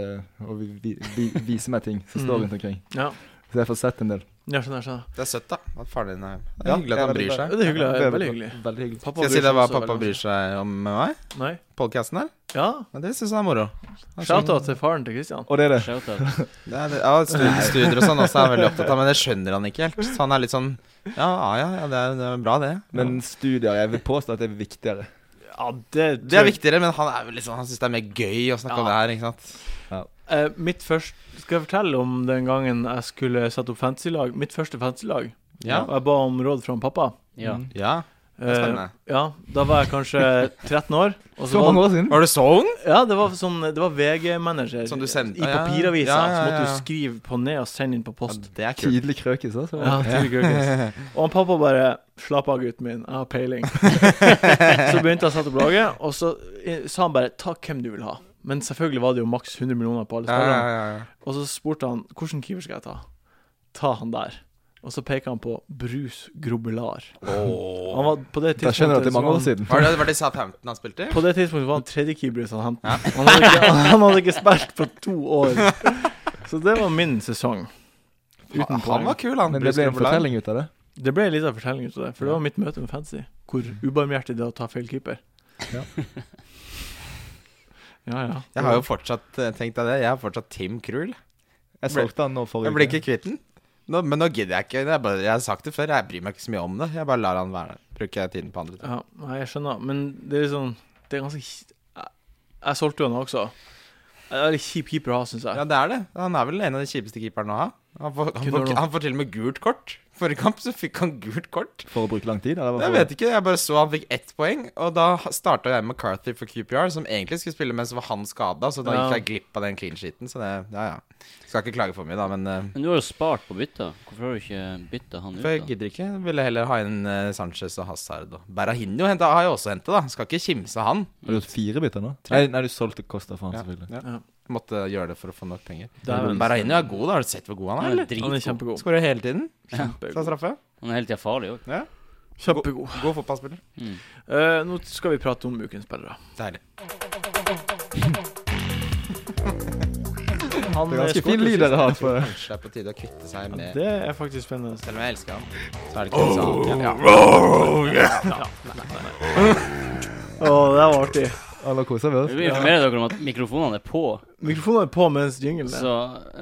S4: og vi, vi, vi, vise meg ting som står
S1: Mm.
S4: rundt omkring.
S1: Ja,
S4: Så jeg får sett en del.
S1: ja, skjønner, skjønner.
S2: Det er søtt, da. At faren din er Det
S4: Ja,
S2: er Hyggelig at
S4: jeg
S2: han
S4: er
S2: bryr
S4: veldig-
S2: seg.
S1: Det er hyggelig.
S4: Det er
S1: Veldig hyggelig.
S4: Veldig hyggelig.
S1: Pappa
S2: Skal jeg si
S1: bryr
S2: deg
S1: seg
S2: hva
S1: også
S2: pappa
S1: veldig
S2: bryr seg om med meg?
S1: Nei.
S2: Podcasten her?
S1: Ja.
S2: Ja, det syns jeg er moro. Det er sånn-
S1: Shout-out til faren til Christian.
S4: Og det er det.
S3: Shout-out.
S2: Det er, ja, studier, studier og sånn også er jeg veldig opptatt av, men det skjønner han ikke helt. Så han er litt sånn Ja, ja, ja, det er, det er bra, det.
S4: Men studier Jeg vil påstå at det er viktigere.
S1: Ja, det,
S2: Det er viktigere, men han er vel litt sånn Han syns det er mer gøy å snakke om det her, ikke sant.
S1: Eh, mitt først, skal jeg fortelle om den gangen jeg skulle sette opp fantasy-lag? Mitt første fantasy-lag.
S2: Ja.
S1: Og jeg ba om råd fra en pappa.
S3: Ja.
S4: Mm.
S2: ja. Det er
S1: Eh,
S2: spennende.
S1: ja, da var jeg kanskje 13 år. Og så
S4: Så mange
S1: var,
S4: år siden.
S2: Var det sånn?
S1: ja, det var, sånn, det var VG-manager
S2: Som du sendte-
S1: i
S2: ja, ja,
S1: papiravisa.
S2: ja, ja,
S1: Så måtte
S2: ja.
S1: du skrive på ned og sende inn på
S2: Ja,
S1: post.
S2: det er kult.
S4: Tidlig krøkes, altså.
S1: Ja, til Gurgis. Og han pappa bare 'Slapp av, gutten min. Jeg har peiling'. så begynte jeg å sette opp laget, og så eh, sa han bare 'Ta hvem du vil ha'. Men selvfølgelig var det jo maks 100 millioner på alle
S2: Ja,
S1: spillerne.
S2: ja, ja, ja.
S1: Og så spurte han hvilken keeper skal jeg ta. Ta han der. Og så peker han på Bruce Grobelar. Han var på det
S4: Da skjønner
S1: tidspunktet
S4: du at det er
S1: så
S4: mange år
S1: var han-
S4: siden.
S2: Var det, var det Southampton han spilte i?
S1: På det tidspunktet var han tredjekeeper i Southampton. Han, hadde ikke, han hadde ikke spilt på to år. Så det var min sesong. Uten
S2: Han,
S1: poeng.
S2: han var kul, han.
S4: Men det ble en
S2: Bruce Grobbelaar.
S4: fortelling ut av det.
S1: Det ble litt av fortelling ut av det, for det var mitt møte med Fancy. Hvor ubarmhjertig det er å ta feil keeper.
S4: Ja.
S1: ja, ja.
S2: Jeg har jo fortsatt eh, tenkt deg det. Jeg har fortsatt Tim Krul.
S4: Jeg solgte han nå
S2: Jeg blir
S4: forrige
S2: ikke kvitt den. Nå, men nå gidder jeg ikke. Jeg, bare, jeg har sagt det før, jeg bryr meg ikke så mye om det. Jeg bare lar han være. Bruker tiden på andre ting.
S1: Ja, nei, jeg skjønner, men det er liksom Det er ganske kj- Jeg, jeg solgte jo han også. Det er litt kjip keeper å ha, syns jeg.
S2: Ja, det er det. Han er vel en av de kjipeste keeperne å ha. Han får, han, får,
S1: Kunne du-
S2: han får til og med gult kort. Forrige kamp så fikk han gult kort.
S4: For å bruke lang tid? Eller? hva
S2: Jeg
S4: for-
S2: vet ikke, jeg bare så han fikk ett poeng, og da starta jeg med McCarthy for QPR, som egentlig skulle spille, men så var han skada, så da
S1: Ja.
S2: gikk jeg glipp av den clean sheeten. Så det, ja ja. Skal ikke klage for mye, da, men eh,
S3: Men du har jo spart på bytta. Hvorfor har du ikke bytta han ut,
S2: For jeg
S3: da?
S2: gidder ikke. Jeg ville heller ha inn eh, Sanchez og Hazard. Og Berahino hentet, har jeg også henta, da. Skal ikke kimse av han.
S4: Har du gjort fire biter nå? Nei, nei, du solgte Costa for han,
S2: Ja.
S4: selvfølgelig.
S2: Ja.
S1: Ja.
S2: Måtte gjøre det for å få nok penger.
S1: Dæven.
S2: Berahino er god, da. Har du sett hvor god han er?
S3: Han er
S2: eller?
S1: Han er
S3: dritgod.
S1: kjempegod.
S2: Skårer hele tiden. Ta
S1: Kjempegod.
S2: straffe.
S3: Han er hele tida farlig òg.
S1: kjempegod.
S2: God fotballspiller.
S3: Mm.
S1: Eh, nå skal vi prate om ukens spillere.
S2: Deilig.
S1: Han
S4: Det er ganske
S1: skårte
S4: fin lyd dere har. For.
S2: Kanskje det er på tide å kvitte seg
S1: sist.
S2: med
S1: Det Oh. er faktisk spennende.
S2: Selv om jeg elsker han, så er det ikke så annet. Ja.
S1: Å, det var artig.
S4: Alle koser vi
S3: Vi
S4: oss.
S3: vil informere dere om at mikrofonene er på,
S1: Mikrofonen er på mens jinglen er.
S3: så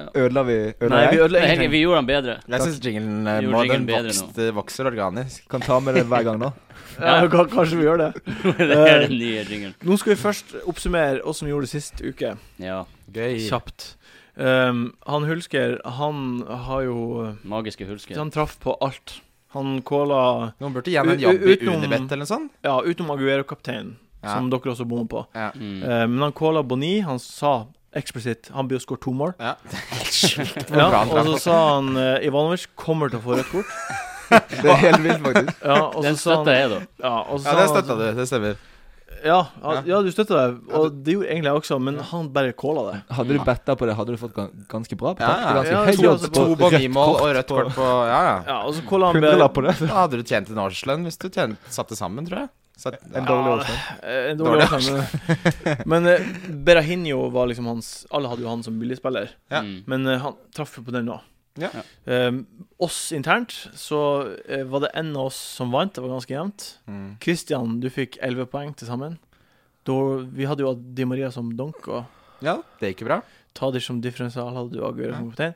S3: ja.
S4: Ødela vi ødela
S1: Nei, vi
S4: jeg?
S1: ødelegger
S3: Helge,
S1: ingenting.
S3: vi gjorde han bedre.
S2: Jeg syns jinglen eh,
S3: Jo,
S2: må-
S3: jinglen
S2: den
S3: bedre
S2: vokst, eh, vokser organisk.
S4: Kan ta med det hver gang nå.
S1: Ja, ka- kanskje vi gjør det.
S3: det er den nye jingelen.
S1: Nå skal vi først oppsummere oss som gjorde det sist uke,
S3: Ja.
S2: Gøy.
S1: kjapt. Um, han Hulsker, han har jo
S3: Magiske hulsker.
S1: Han traff på alt. Han calla
S2: Noen burde gi han en
S1: U-
S2: jobb i
S1: utenom-
S2: Unibet eller noe sånt.
S1: Ja, utenom Aguero-kapteinen,
S2: Ja.
S1: som dere også bomma på.
S3: Mm.
S1: Eh, men han calla Boni. Han sa eksplisitt han blir å skåre to mål.
S2: Ja. Helt sjukt hvor
S1: Ja,
S2: bra han
S1: og
S2: traff.
S1: så sa han uh, Ivanovic kommer til å få rødt kort.
S4: Det er helt vilt, faktisk.
S1: Ja, og så
S3: Den
S1: sa han
S3: støtta jeg, da.
S1: Ja, og så sa
S2: Ja, det
S1: han-
S2: støtta du. Det stemmer.
S1: Ja, ja, ja du støtta det.
S2: Ja,
S1: Og det gjorde egentlig jeg også, men han bare calla det.
S4: Hadde du betta på det, hadde du fått gan- ganske bra
S2: Ja,
S4: betalt.
S2: ja.
S4: Ganske
S1: Ja, jeg
S4: høy
S1: tror
S4: odds
S1: altså
S4: på
S2: To Boni-mål og rødt
S4: på-
S2: kort på Ja, ja.
S1: Ja, og så calla han
S4: Hundrelapp på det.
S2: Da hadde du tjent en årslønn hvis du tjent, satte sammen, tror jeg. Satt,
S4: En
S2: ja.
S4: dårlig
S1: Ja,
S4: årsak.
S1: Eh, En dårlig årsak, men Men eh, Berahino var liksom hans Alle hadde jo han som billigspiller,
S2: Ja.
S3: Mm.
S1: men eh, han traff jo på den nå.
S2: Ja.
S1: Eh, oss internt så eh, var det en av oss som vant, det var ganske jevnt.
S2: Mm.
S1: Christian, du fikk 11 poeng til sammen. Da, vi hadde jo hatt Di Maria som donk, og
S2: ja, det gikk jo bra.
S1: Tadic som differensial hadde du Aguero som kaptein.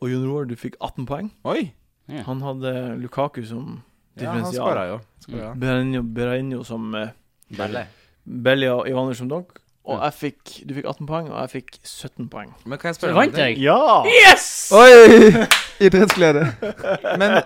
S1: Og Jon Roar, du fikk 18 poeng.
S2: Oi!
S3: Ja.
S1: Han hadde Lukaku som
S2: Ja, han
S1: differensial. Mm.
S2: skåra jo. Skåra.
S1: Berahino Berahino som eh,
S2: Deilig.
S1: Belly og Ivaner som donk. Og jeg fikk, du fikk 18 poeng, og jeg fikk 17 poeng.
S2: Men kan jeg
S3: Så
S2: spørre
S3: vant jeg.
S1: Ja!
S4: Oi! Idrettsglede.
S2: Men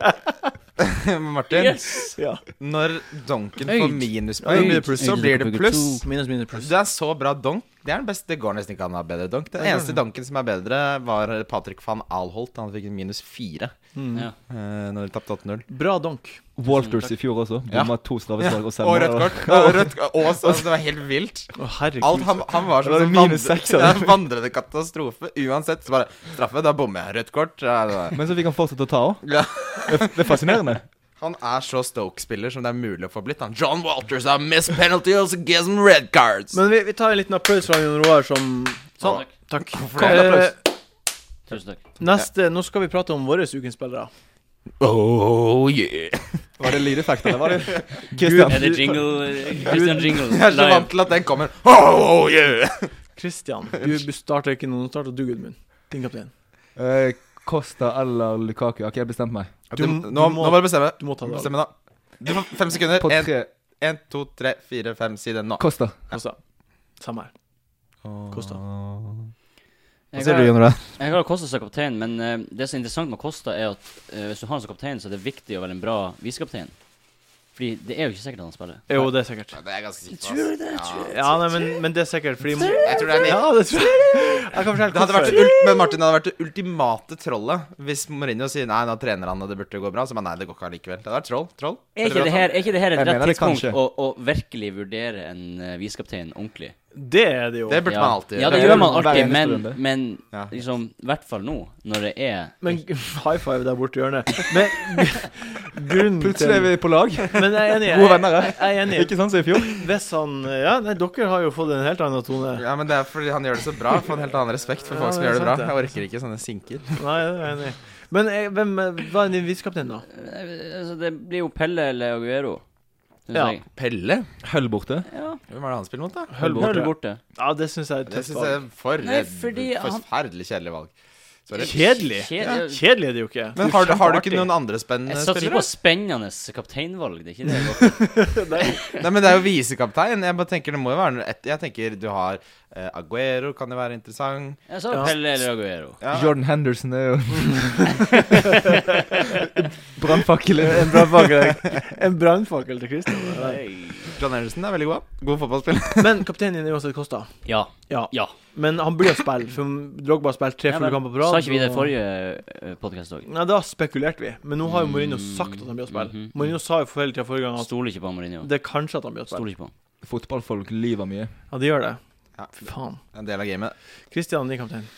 S2: Martin,
S3: Yes!
S1: ja.
S2: når donken
S3: Øyd.
S1: Ja,
S2: får minuspoeng,
S1: det blir pluss.
S2: så blir det pluss.
S1: Minus, minus, pluss.
S2: Det er så bra donk. Det er den beste. Det går nesten ikke an å ha bedre donk. Den
S1: Nei,
S2: eneste
S1: nei.
S2: donken som er bedre, var Patrick van Alholt. Han fikk en minus fire
S1: Mm.
S3: Ja.
S2: eh, når de tapte 8-0.
S1: Bra donk.
S4: Walters i fjor også.
S2: Ja.
S4: Bomma to straffeslag og
S2: Og rødt
S4: sender.
S2: kort. Og rødt, og så, altså, det var helt vilt.
S1: Å, herregud.
S2: Alt, han, han var
S4: Da var det
S2: sånn som
S4: minus seks, altså.
S2: vandre,
S4: ja.
S2: ja, vandrende katastrofe. Uansett, så bare straffe. Da bommer jeg. Rødt kort. Ja, det var-
S4: Men så fikk han fortsette å ta òg.
S2: Ja.
S4: Det det er fascinerende.
S2: Han er så Stoke-spiller som det er mulig å få blitt. Han. John Walters har missed penalties and gives him red cards.
S1: Men vi, vi tar en liten applaus fra Jon Roar som Sånn.
S3: Takk.
S1: Takk.
S2: Hvorfor det? Applaus.
S1: Eh,
S3: Tusen takk.
S1: neste, nå skal vi prate om våre ukens spillere.
S2: oh yeah.
S4: Var det lydeffekt, eller var det
S3: Er det
S4: Kristian?
S3: jingle? Christian Jingle.
S2: Jeg er så
S3: Live.
S2: vant til at den kommer. Oh yeah.
S1: Christian, du starter ikke noen start, og du, Gudmund. Din kaptein.
S4: Eh, Costa eller Lukaku? Har ikke jeg bestemt meg?
S1: Du-
S2: nå,
S1: du
S2: nå
S1: må-
S2: må du bestemme.
S1: Du må ta det.
S2: Bestemme, da. Du får fem sekunder.
S4: På
S2: En,
S4: tre.
S2: en, to, tre, fire, fem. Si det nå.
S4: Costa.
S1: Kosta. Samme her. Kosta.
S3: Jeg
S2: sier
S3: har-
S2: du, Jon Roar?
S3: Jeg har Kosta som kaptein, men eh, det som er interessant med Kosta, er at eh, hvis du har han som kaptein, så er det viktig å være en bra visekaptein. Fordi det er jo ikke sikkert at han spiller.
S1: Jo, det er sikkert.
S2: Ja, Det er jeg ganske sikker
S3: Tror du
S2: på. ass. Ja.
S1: Ja, nei, men, men det er sikkert fordi
S2: Jeg tror det er litt
S1: Ja, det tror jeg. Jeg kan fortelle
S2: det hadde vært
S1: hvorfor.
S2: det ul Men Martin, det hadde vært det ultimate trollet hvis Mourinho sier nei, nå trener han, og det burde gå bra. Så bare nei, det går ikke allikevel. Det hadde vært troll. Troll.
S3: Er ikke det her, er ikke det her et
S4: Jeg
S3: rett
S4: mener det
S3: tidspunkt
S4: kanskje.
S3: å, å virkelig vurdere en uh, visekaptein ordentlig?
S1: Det er det jo.
S2: Det burde
S3: ja.
S2: man alltid
S3: Ja, det
S4: gjøre.
S3: gjør man
S4: Hver
S3: alltid,
S4: eneste
S3: men,
S4: runde.
S3: men
S2: Ja.
S3: liksom, i hvert fall nå, når det er
S1: Men high five der borte i hjørnet. Men gr- grunnen til
S4: Plutselig er vi på lag.
S1: Men jeg er enig.
S4: Gode venner, ja.
S1: jeg, jeg er enig.
S4: Ikke sånn som i fjor.
S1: Hvis han Ja, nei, dere har jo fått en helt annen tone.
S2: Ja, men det er fordi han gjør det så bra. Får en helt annen respekt for
S1: Ja,
S2: folk
S1: det
S2: som
S1: er
S2: gjør det bra.
S1: sant,
S2: Jeg orker ikke sånne sinker.
S1: Nei, det er jeg enig i. Men eh, hvem eh, Hva er din visekaptein, da?
S3: eh, altså, Det blir jo Pelle eller Aguero. Synes
S1: Ja.
S3: jeg.
S2: Pelle?
S4: Høll borte.
S3: Ja,
S2: Hvem var det han spilte mot, da?
S1: Høll
S3: Høll
S1: borte.
S3: borte.
S1: Ja, det syns jeg er et
S2: Det
S1: tøft
S2: syns jeg
S1: valg.
S2: er for
S3: Nei, fordi han-
S2: forferdelig kjedelig valg. Sorry.
S1: Kjedelig?
S3: Kjedelig.
S1: Kjedelig er det jo ikke.
S2: Men har, har du ikke noen andre spennende
S3: Jeg satser ikke
S2: spillere?
S3: på spennende kapteinvalg, det er ikke det. jeg går for.
S2: Nei, men det er jo visekaptein. Jeg bare tenker det må jo være noe et- Jeg tenker du har eh, Aguero, kan jo være interessant.
S3: Jeg sa
S1: Ja.
S3: Pelle eller Aguero.
S2: Ja.
S4: Jordan Henderson er jo Brannfakkel.
S1: En brannfakkel En brannfakkel til Christian. det
S2: John Henderson er veldig god. God fotballspiller.
S1: der. Men kapteinen din er uansett Kosta.
S3: Ja.
S1: Ja.
S3: Ja.
S1: Men han blir å spille, for Drogba har spilt tre
S3: Ja,
S1: fulle
S3: men
S1: kamper på rad.
S3: Sa ikke vi det i
S1: og-
S3: forrige eh, podkast òg?
S1: Nei, da spekulerte vi. Men nå har jo Mourinho sagt at han blir å spille.
S3: Mm, Mhm.
S1: Mourinho sa jo for hele tida forrige gang at
S3: Stoler ikke på Mourinho.
S1: det er kanskje at han blir å spille.
S3: Stoler ikke på han.
S4: Fotballfolk lyver mye.
S1: Ja, de gjør det.
S2: Ja.
S1: Fy faen.
S2: En del av gamet.
S1: Christian, din kaptein.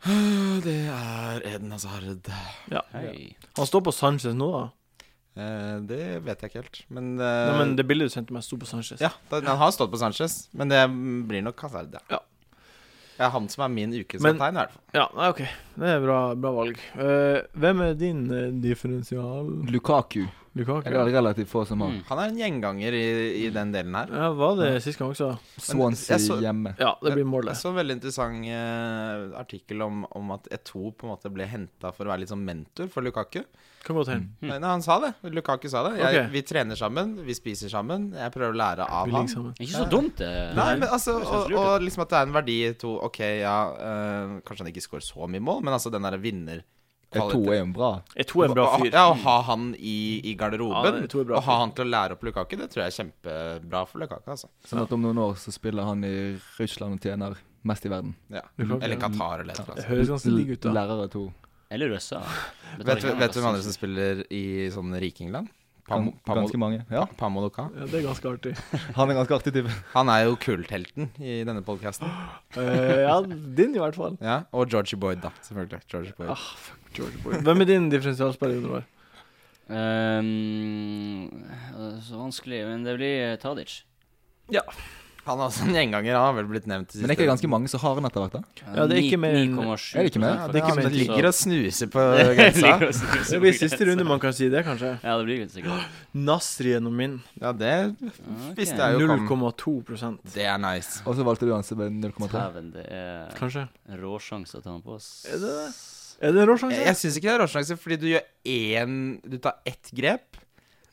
S2: Det er Eden Hazard.
S1: Ja.
S3: Hei.
S1: Han står på Sanchez nå, da.
S2: Eh, det vet jeg ikke helt, men, eh,
S1: Nei, men det bildet du sendte meg, sto på Sanchez.
S2: Ja, da- han har stått på Sanchez, men det blir nok Hazard, ja.
S1: Ja.
S2: Det er han som er min ukens
S1: Men-
S2: kaptein, i hvert fall.
S1: Ja, nei, OK. Det er bra, bra valg. Eh, hvem er din eh, differensial
S4: Lukaku.
S1: Lukaku?
S4: Jeg har relativt få som har.
S3: Mm.
S2: Han er en gjenganger i, i den delen her.
S1: Ja, var det sist gang også?
S4: Swansea
S2: jeg så-
S4: hjemme.
S1: Ja, det blir
S2: Jeg
S1: målet.
S2: så en veldig interessant eh, artikkel om, om at E2 på en måte ble henta for å være litt sånn mentor for Lukaku.
S1: Kan gå til henne.
S3: Mm.
S2: Nei, nei, han sa det. Lukaku sa det. Jeg,
S1: Hmm. Ok.
S2: Vi trener sammen, vi spiser sammen. Jeg prøver å lære
S1: Vi
S2: av
S1: ligger
S2: han.
S1: sammen.
S3: Ikke så dumt, det.
S2: Nei, men altså,
S3: Det høres
S2: og,
S3: lurt ut.
S2: og liksom at det er en verdi i to Ok, ja, eh, kanskje han ikke scorer så mye mål, men altså den derre vinner...
S4: To er jo en bra.
S1: Jeg tror jeg er en bra
S2: Å-
S1: fyr.
S2: Ja, Å ha han i, i
S1: Ja,
S2: garderoben
S1: det tror jeg er bra
S2: og ha
S1: fyr.
S2: han til å lære opp Lukaku, det tror jeg er kjempebra for Lukaku. Altså.
S4: Sånn at om noen år så spiller han i Russland og tjener mest i verden.
S2: Ja.
S1: Lukaku,
S2: Eller
S1: ja.
S2: Qatar eller et
S1: Det
S2: eller annet.
S1: høres ganske digg ut, da.
S4: Lærere to.
S3: Eller USA.
S2: Vet du vet du hvem andre som spiller i sånn rikingland? Pamo,
S4: Gan-
S2: Pamo,
S4: Ganske mange. Ja,
S2: Pamo Luka.
S1: Ja, det er ganske artig.
S4: han er ganske artig type.
S2: Han er jo kulthelten i denne podkasten.
S1: Eh, ja, din i hvert fall.
S2: Ja, og Georgie Boyd, da. Selvfølgelig. Georgie Boyd.
S1: Ah, fuck George Boyd. Hvem er din differensialspiller under år?
S3: um, Så vanskelig, men det blir eh, Tadic.
S2: Han er også en gjenganger. Han har vel blidt nevnt til
S4: Men det er ikke ganske mange som har han etter hvert, da?
S1: Ja, det er ikke mer enn-
S3: 9,7
S4: Er det ikke mer?
S2: Ja, det
S1: er ikke
S2: han
S1: mer-
S2: ligger og snuser på grensa.
S1: Det
S3: Det
S1: blir siste runde man kan si det, kanskje.
S3: Ja, det blir det sikkert.
S1: Nasri er noe min.
S2: Ja, det
S3: Ok.
S2: visste jeg jo kom.
S1: 0,2
S2: Det er nice.
S4: Og så valgte du han som er 0,3.
S3: Dæven, det er
S1: kanskje.
S3: råsjanse å ta han på oss.
S1: Er det det? Er det en rå
S2: Jeg,
S1: sjanse?
S2: jeg syns ikke det er råsjanse, fordi du gjør én Du tar ett grep.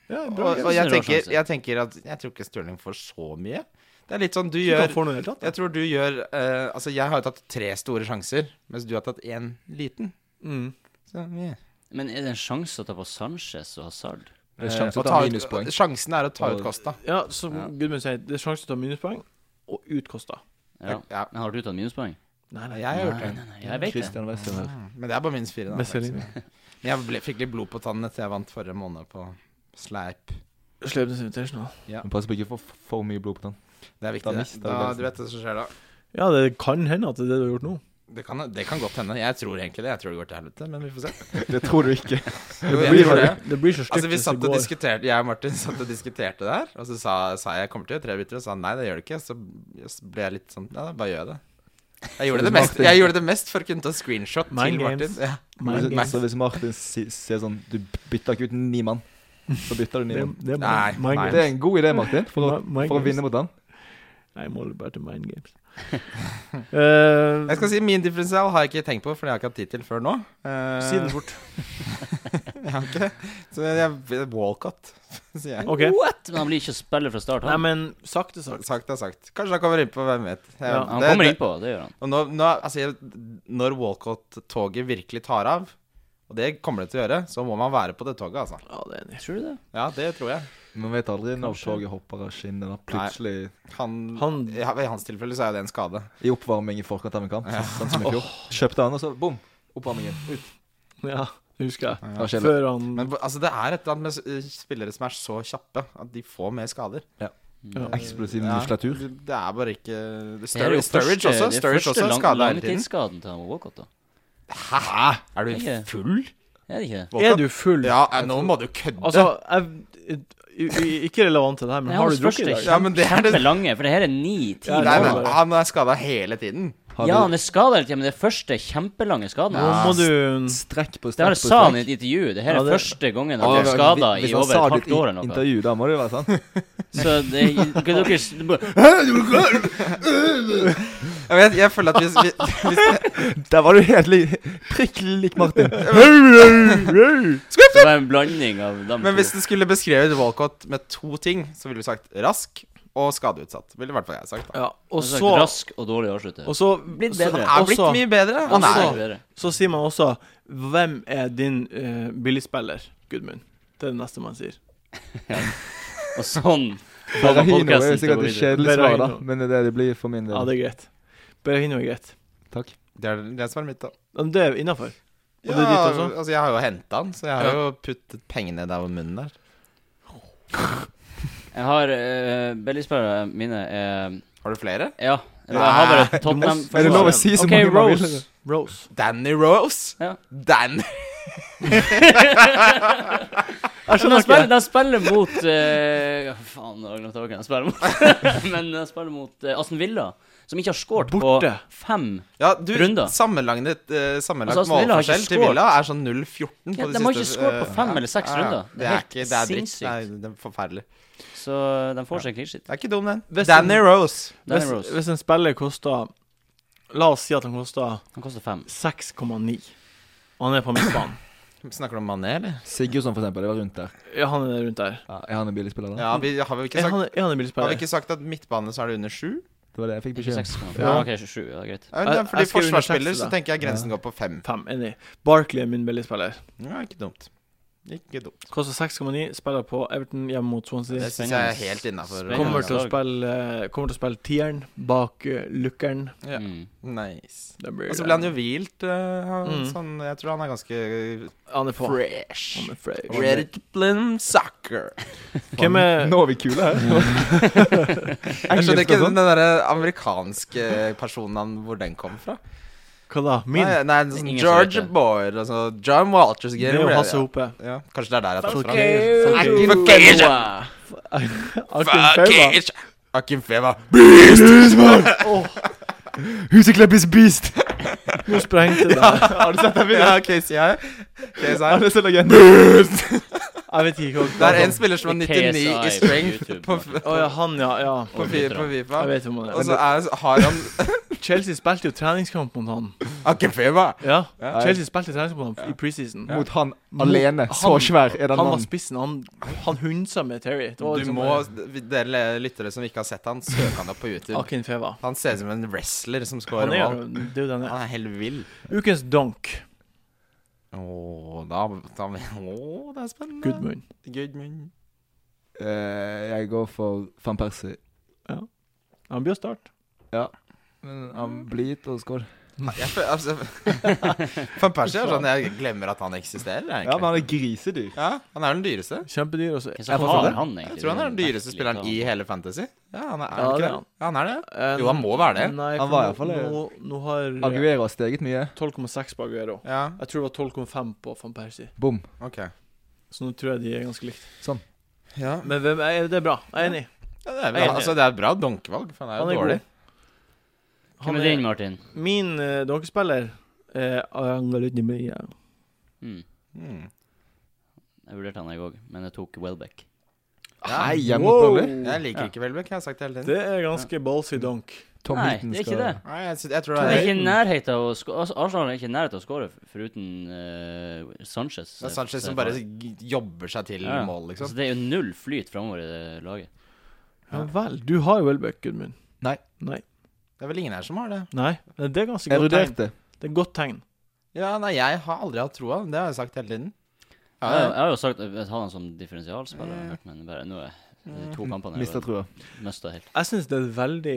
S1: Ja,
S2: Og,
S1: bra.
S2: og
S3: Jeg
S2: jeg,
S3: synes det er
S2: tenker,
S3: råsjanse.
S2: jeg tenker at Jeg tror ikke Stirling får så mye. Det er litt sånn du
S1: Ikke
S2: gjør
S1: han får noe i det hele tatt. da.
S2: Jeg tror du gjør eh, Altså, jeg har jo tatt tre store sjanser, mens du har tatt én liten.
S1: Mm.
S2: Så, yeah.
S3: Men er det en sjanse å ta på Sanchez og Hazard?
S4: Det er
S2: Eh,
S4: sjanse til
S2: og
S4: å ta
S2: ta ut-
S4: minuspoeng.
S2: Sjansen er å ta ut
S4: Og-
S2: Kosta.
S1: Ja, som
S3: Ja.
S1: Gudmund sier, det er sjanse til å ta minuspoeng, og ut Kosta.
S3: Ja.
S2: Ja.
S3: Men har du tatt minuspoeng?
S1: Nei, nei.
S2: Jeg har gjort det.
S3: Nei, nei, jeg vet det.
S4: Christian Westerhaug.
S2: Men det er bare minus fire. Da,
S1: Messelin.
S2: faktisk. Men jeg ble, fikk litt blod på tannen etter jeg vant forrige måned på Sleip.
S1: Slebnes Invitational.
S4: Men Pass på ikke å få for, for mye blod på tann.
S2: Det
S4: Da
S2: er viktig. det.
S4: mister du
S2: Da,
S4: balansen.
S2: du vet det som skjer da.
S1: Ja, det kan hende at det er det du har gjort nå.
S2: Det kan, det kan godt hende. Jeg tror egentlig det. Jeg tror det går til helvete, men vi får se.
S4: Det tror du ikke.
S2: Jo,
S1: Det
S2: jeg
S1: blir,
S2: tror det.
S1: det blir så stygt
S2: Altså, vi
S1: hvis det
S2: satt og
S1: går.
S2: diskuterte, jeg og Martin satt og diskuterte det her, og så sa, sa jeg 'kommer til å gjøre tre bytter', og sa han, nei, det gjør du ikke. Så ble jeg litt sånn Ja, da bare gjør jeg det. Jeg gjorde det, mest, jeg gjorde det mest for å kunne ta screenshot
S1: Mind
S2: til Martin.
S1: games.
S2: Ja.
S1: Mind
S4: Hvis,
S1: games.
S4: så hvis Martin si- sier sånn Du bytter ikke ut ni mann. Så bytter du ni
S1: Det,
S4: mann.
S1: det er
S2: Nei,
S1: mind- mind
S2: nei.
S4: Det
S1: games.
S4: er en god idé, Martin, for å,
S1: Mind
S4: for å
S1: games.
S4: vinne mot han.
S1: Nei, jeg måler bare til mind games. Eh,
S2: Jeg skal si min differensial har jeg ikke tenkt på, for det har jeg ikke hatt tid til før nå. Eh,
S1: si den fort.
S2: jeg har ikke. Så jeg, Walcott, sier jeg.
S1: OK.
S3: What?! Men han blir ikke å spille fra start,
S1: Nei,
S3: han.
S1: men sakte, sakte.
S2: Sagt er sagt. Kanskje han kommer innpå, hvem vet. Jeg,
S1: Ja,
S3: Han
S2: det-
S3: kommer
S2: det-
S3: innpå, det gjør han.
S2: Og nå, nå, altså, jeg- når Walcott-toget virkelig tar av, og det kommer det til å gjøre, så må man være på det toget, altså.
S1: Ja, det er enig.
S3: Tror du det?
S2: Ja, det tror jeg.
S4: Man vet aldri når
S3: Kanskje.
S4: toget hopper av skinnet. Da plutselig
S2: Han,
S1: Han-
S2: ja, I hans tilfelle så er det en skade.
S4: i oppvarming i forkant av en kamp. Sånn som i fjor. Kjøpte han, og så bom! Oppvarmingen. Ut.
S1: Ja, det husker jeg.
S4: Da skjer det.
S1: Før han
S2: Men altså, det er et eller annet med s- eh, spillere som er så kjappe at de får mer skader.
S4: Eksplosiv
S2: Ja,
S4: muskulatur.
S2: Det det er bare ikke
S3: Det er
S2: Sturridge,
S3: jo
S2: Sturridge
S3: første-
S2: også.
S3: det er
S2: Sturridge
S3: første
S2: også
S3: lang-
S2: skada hele tiden.
S3: Langtidsskaden til han Walcott, da.
S2: Hæ? Er
S3: Er ikke
S2: du
S3: det?
S2: full?
S3: Er det ikke det?
S1: Er du full?
S2: Ja, eh, nå må du kødde.
S1: Altså, jeg, i- i- ikke relevant til det her, men
S3: Nei,
S1: har du
S3: hans
S1: drukket i dag?
S3: første
S2: ja, men det er
S3: Kjempe
S2: det
S3: lange, for det her er ni-ti
S1: Ja,
S2: Nei,
S3: måneder.
S2: men han er skada hele tiden.
S4: Har
S3: Ja, han
S4: du
S3: er skada hele tiden, men det er første kjempelange skaden.
S1: Nå må du
S4: strekk på
S3: Det
S4: strekk
S3: her
S4: på
S3: sa han i
S4: strekk?
S3: et intervju. Det her
S1: Ja,
S3: er
S1: det-
S3: første gangen han er skada i altså. over et halvt år eller noe.
S4: intervju, da må det jo være sant.
S3: Så det kan dere s- bare-
S2: Jeg, vet, jeg føler at hvis, vi- hvis
S4: Der var du helt li prikk lik Martin.
S3: Det var en blanding av dem
S2: Men hvis
S3: to.
S2: du skulle beskrevet Walcott med to ting, så ville du sagt rask og skadeutsatt. Ville i hvert fall jeg sagt. da
S1: Ja, og
S3: Sagt
S1: så
S3: sånn Rask og dårlig avslutter.
S1: Og så
S3: Blitt
S1: så-
S3: bedre.
S2: Han er blitt
S1: også-
S2: mye bedre.
S1: Og
S2: Han
S1: så-
S2: er
S1: Også- Så sier man også Hvem er din eh, billigspiller, Gudmund? Det er det neste man sier.
S3: Og sånn får man
S4: Berahino er
S3: podcasten
S4: jo
S3: til å
S4: sikkert et
S3: gå videre.
S4: kjedelig svar, da.
S1: Berahino.
S4: Men det er det det blir for min
S1: Ja,
S4: del.
S1: det er greit. Berahino er greit.
S4: Takk.
S2: Det er det som er mitt, da.
S1: Ja, men Det er innafor. Og
S2: Ja,
S1: det er ditt også?
S2: altså, jeg har jo henta han, så jeg har
S1: Ja.
S2: jo puttet pengene der hvor munnen er.
S3: Jeg har uh, Belly-spillere mine er
S2: Har du flere?
S3: Ja. Jeg har bare Tottenham
S1: Er det lov å si
S4: så
S3: Ok,
S4: mange man vil?
S3: Rose.
S1: Rose.
S2: Danny Rose.
S3: Ja.
S2: Dan
S3: Men De spiller, de spiller mot eh, ja, Faen, jeg har glemt hvem de spiller mot. Men de spiller mot eh, Aston Villa, som ikke har scoret på
S1: Borte.
S3: fem
S2: Ja, du,
S3: Runda.
S2: sammenlagnet eh, sammenlagt
S3: Altså, Aston Villa har ikke
S2: målforskjell til
S3: scoret.
S2: Villa er sånn 0-14 på
S3: Ja,
S2: de
S3: de har ikke
S2: siste,
S3: scoret på
S2: eh,
S3: fem eller seks runder.
S2: Det er, ikke, det er dritt.
S3: sinnssykt.
S2: Nei, det er forferdelig.
S3: Så de får seg clean shit.
S2: Det er ikke dum, den.
S1: Hvis-
S2: Danny Rose.
S3: Danny
S1: Hvis,
S3: Rose.
S1: hvis en spiller koster La oss si at han koster
S3: Han koster fem.
S1: 6,9. Og han er på midtbanen.
S2: Snakker du om Mané, eller?
S4: Sigurdsson, for eksempel. Det var rundt der.
S1: Ja, han er rundt der.
S4: Ja, er han en billig spiller, da?
S2: Ja, vi, har vi ikke
S1: Er
S2: sagt
S1: han, er han en
S2: Har vi
S1: billigspiller?
S2: ikke sagt at midtbane så er det under sju?
S4: Det var det jeg fikk beskjed om.
S3: Seks kan han få.
S1: Ja.
S3: Ja, ok, 27, ja, greit.
S2: Ja,
S1: Jeg-
S2: det er Fordi
S1: jeg skrev under
S2: forsvarsspiller
S1: seks,
S2: så
S1: da.
S2: tenker jeg grensen går på fem.
S1: Fem, enig. Barkley er min billigspiller.
S2: Ja, ikke dumt. Ikke dumt.
S1: Koster 6,9, spiller på Everton hjemme mot Swansea.
S2: Det syns jeg er helt innafor.
S3: Spennende.
S1: Kommer til å
S3: lag.
S1: spille Kommer til å spille tieren bak uh, lookeren.
S2: Ja.
S3: Mm.
S2: Nice.
S1: Det blir-
S2: Og så ble han jo hvilt. eh, han,
S1: Mm.
S2: sånn, jeg tror han er ganske
S1: Han er på.
S2: fresh.
S1: Han er fresh.
S2: Ready to blend soccer.
S1: Hvem er
S4: Nå er vi kule her.
S2: Jeg skjønner
S4: Engelsk
S2: ikke
S4: og
S2: den
S4: sånn.
S2: derre amerikanske personen han, hvor den kom fra.
S1: Hva da? Min?
S2: Nei, nei sånn
S3: Ingen som vet
S2: George
S3: det.
S2: Boyd. Altså John Walters.
S1: Det er jo Hasse Hope.
S2: Ja, kanskje det er der jeg tok
S1: Fuck
S2: fra.
S1: you.
S2: Fuck you. Fuck you.
S1: Arkin Feva.
S2: Fuck you. Akin Feva.
S4: Huseklepp is beast!
S1: Nå sprengte det.
S2: Har du sett den videoen? Ja, KCI. KCI.
S4: Alle er så legende.
S1: Jeg vet ikke hva
S2: Det er en spiller som har
S3: Det
S2: 99 i
S3: KSI på
S2: strength
S3: YouTube,
S2: på,
S3: Martin.
S1: Å ja, han, ja. ja
S2: på, fi- på Fifa.
S1: Jeg vet hvem han
S2: Og så
S1: er.
S2: er, har han
S1: Chelsea spilte jo treningskamp mot han.
S2: Akefeba!
S1: Ja,
S4: Ja.
S1: Chelsea spilte treningskamp mot han i preseason.
S4: Mot han
S1: Mot
S4: alene. Så
S1: han-
S4: svær er den
S1: Han var
S4: mannen.
S1: spissen. Han, han hunsa med Terry. Det var
S2: Du
S1: liksom
S2: må, Dere lyttere som ikke har sett han, søk han opp på YouTube.
S1: Akin Feva.
S2: Han ser ut som en wrestler som scorer
S1: Han er
S2: mål.
S1: jo det er jo den her.
S2: Han er helt vill.
S1: Ukens donk.
S2: Åh, da, da Åh, det er spennende.
S1: Gudmund.
S2: Gudmund.
S4: Eh, jeg går for Van Persie.
S1: Han blir å starte.
S4: Men han blir gitt og skål.
S2: Jeg føler, altså, Van Persie er sånn jeg glemmer at han
S4: Ja,
S2: eksisterer,
S4: men
S2: egentlig.
S4: han er grisedyr.
S2: Ja, han er den dyreste.
S1: Kjempedyr. Og så
S3: Hva
S4: Jeg
S3: som
S4: forstår
S3: har
S4: det.
S3: han, egentlig?
S2: Jeg tror han er den
S3: Det
S2: dyreste
S3: merkelig
S2: spilleren
S3: tall.
S2: i hele Fantasy. Ja, han er,
S1: Ja,
S2: er
S1: det
S2: han ikke
S1: er
S2: det?
S1: han.
S2: Ja, han er det.
S1: Eh,
S2: Jo, han må være det.
S1: Nei,
S4: Han
S1: for
S4: var
S1: nå-
S4: i hvert fall det.
S1: Nå, nå har eh,
S4: Aguero har steget mye.
S1: 12,6 på Aguero.
S2: Ja,
S1: Jeg tror det var 12,5 på van Persie.
S4: Bom.
S2: ok.
S1: Så nå tror jeg de er ganske likt.
S2: Ja,
S1: Men hvem er, det er bra. Jeg er enig.
S2: det er,
S1: Jeg er
S2: bra.
S1: enig.
S2: altså, det er et bra donkevalg, for han er jo
S1: Han er
S2: dårlig.
S1: god.
S3: Hvem er din, Martin?
S1: Min uh, donkespiller er Angaludimia.
S3: Mm.
S2: Mm.
S3: Jeg vurderte han, jeg òg, men jeg tok Welbeck.
S2: Ja.
S4: Nei, jeg mot Burnley.
S2: Jeg liker
S3: Ja.
S2: ikke Welbeck, jeg har sagt det hele tiden.
S1: Det er ganske ballsy donk.
S4: Tom
S3: Nei,
S4: Heaton
S3: det er ikke
S4: skal
S3: det.
S2: Nei, jeg, sy- jeg tror
S3: Han
S2: det
S3: er
S2: er
S3: ikke i nærheten av å sko- altså, Arsenal er ikke i nærheten av å skåre foruten eh, Sanchez.
S2: det er Sanchez som bare g- jobber seg til
S3: Ja.
S2: mål, liksom.
S3: Så det er jo null flyt framover i det laget.
S1: Ja vel. Du har jo Welbeck, Gudmund.
S4: Nei.
S1: Nei.
S2: Det er vel ingen her som har det.
S1: Nei. Men Det er ganske
S4: Jeg
S1: godt tegn.
S4: vurderte.
S1: Det er et godt tegn.
S2: Ja, nei, jeg har aldri hatt troa. Det har jeg sagt hele tiden. Ja,
S3: Jeg,
S2: ja.
S3: jeg har jo sagt jeg har han som differensialspiller, har jeg hørt, men bare, nå er de to
S2: Mm.
S3: kampene
S4: Mista trua.
S3: mista helt.
S1: Jeg syns det er et veldig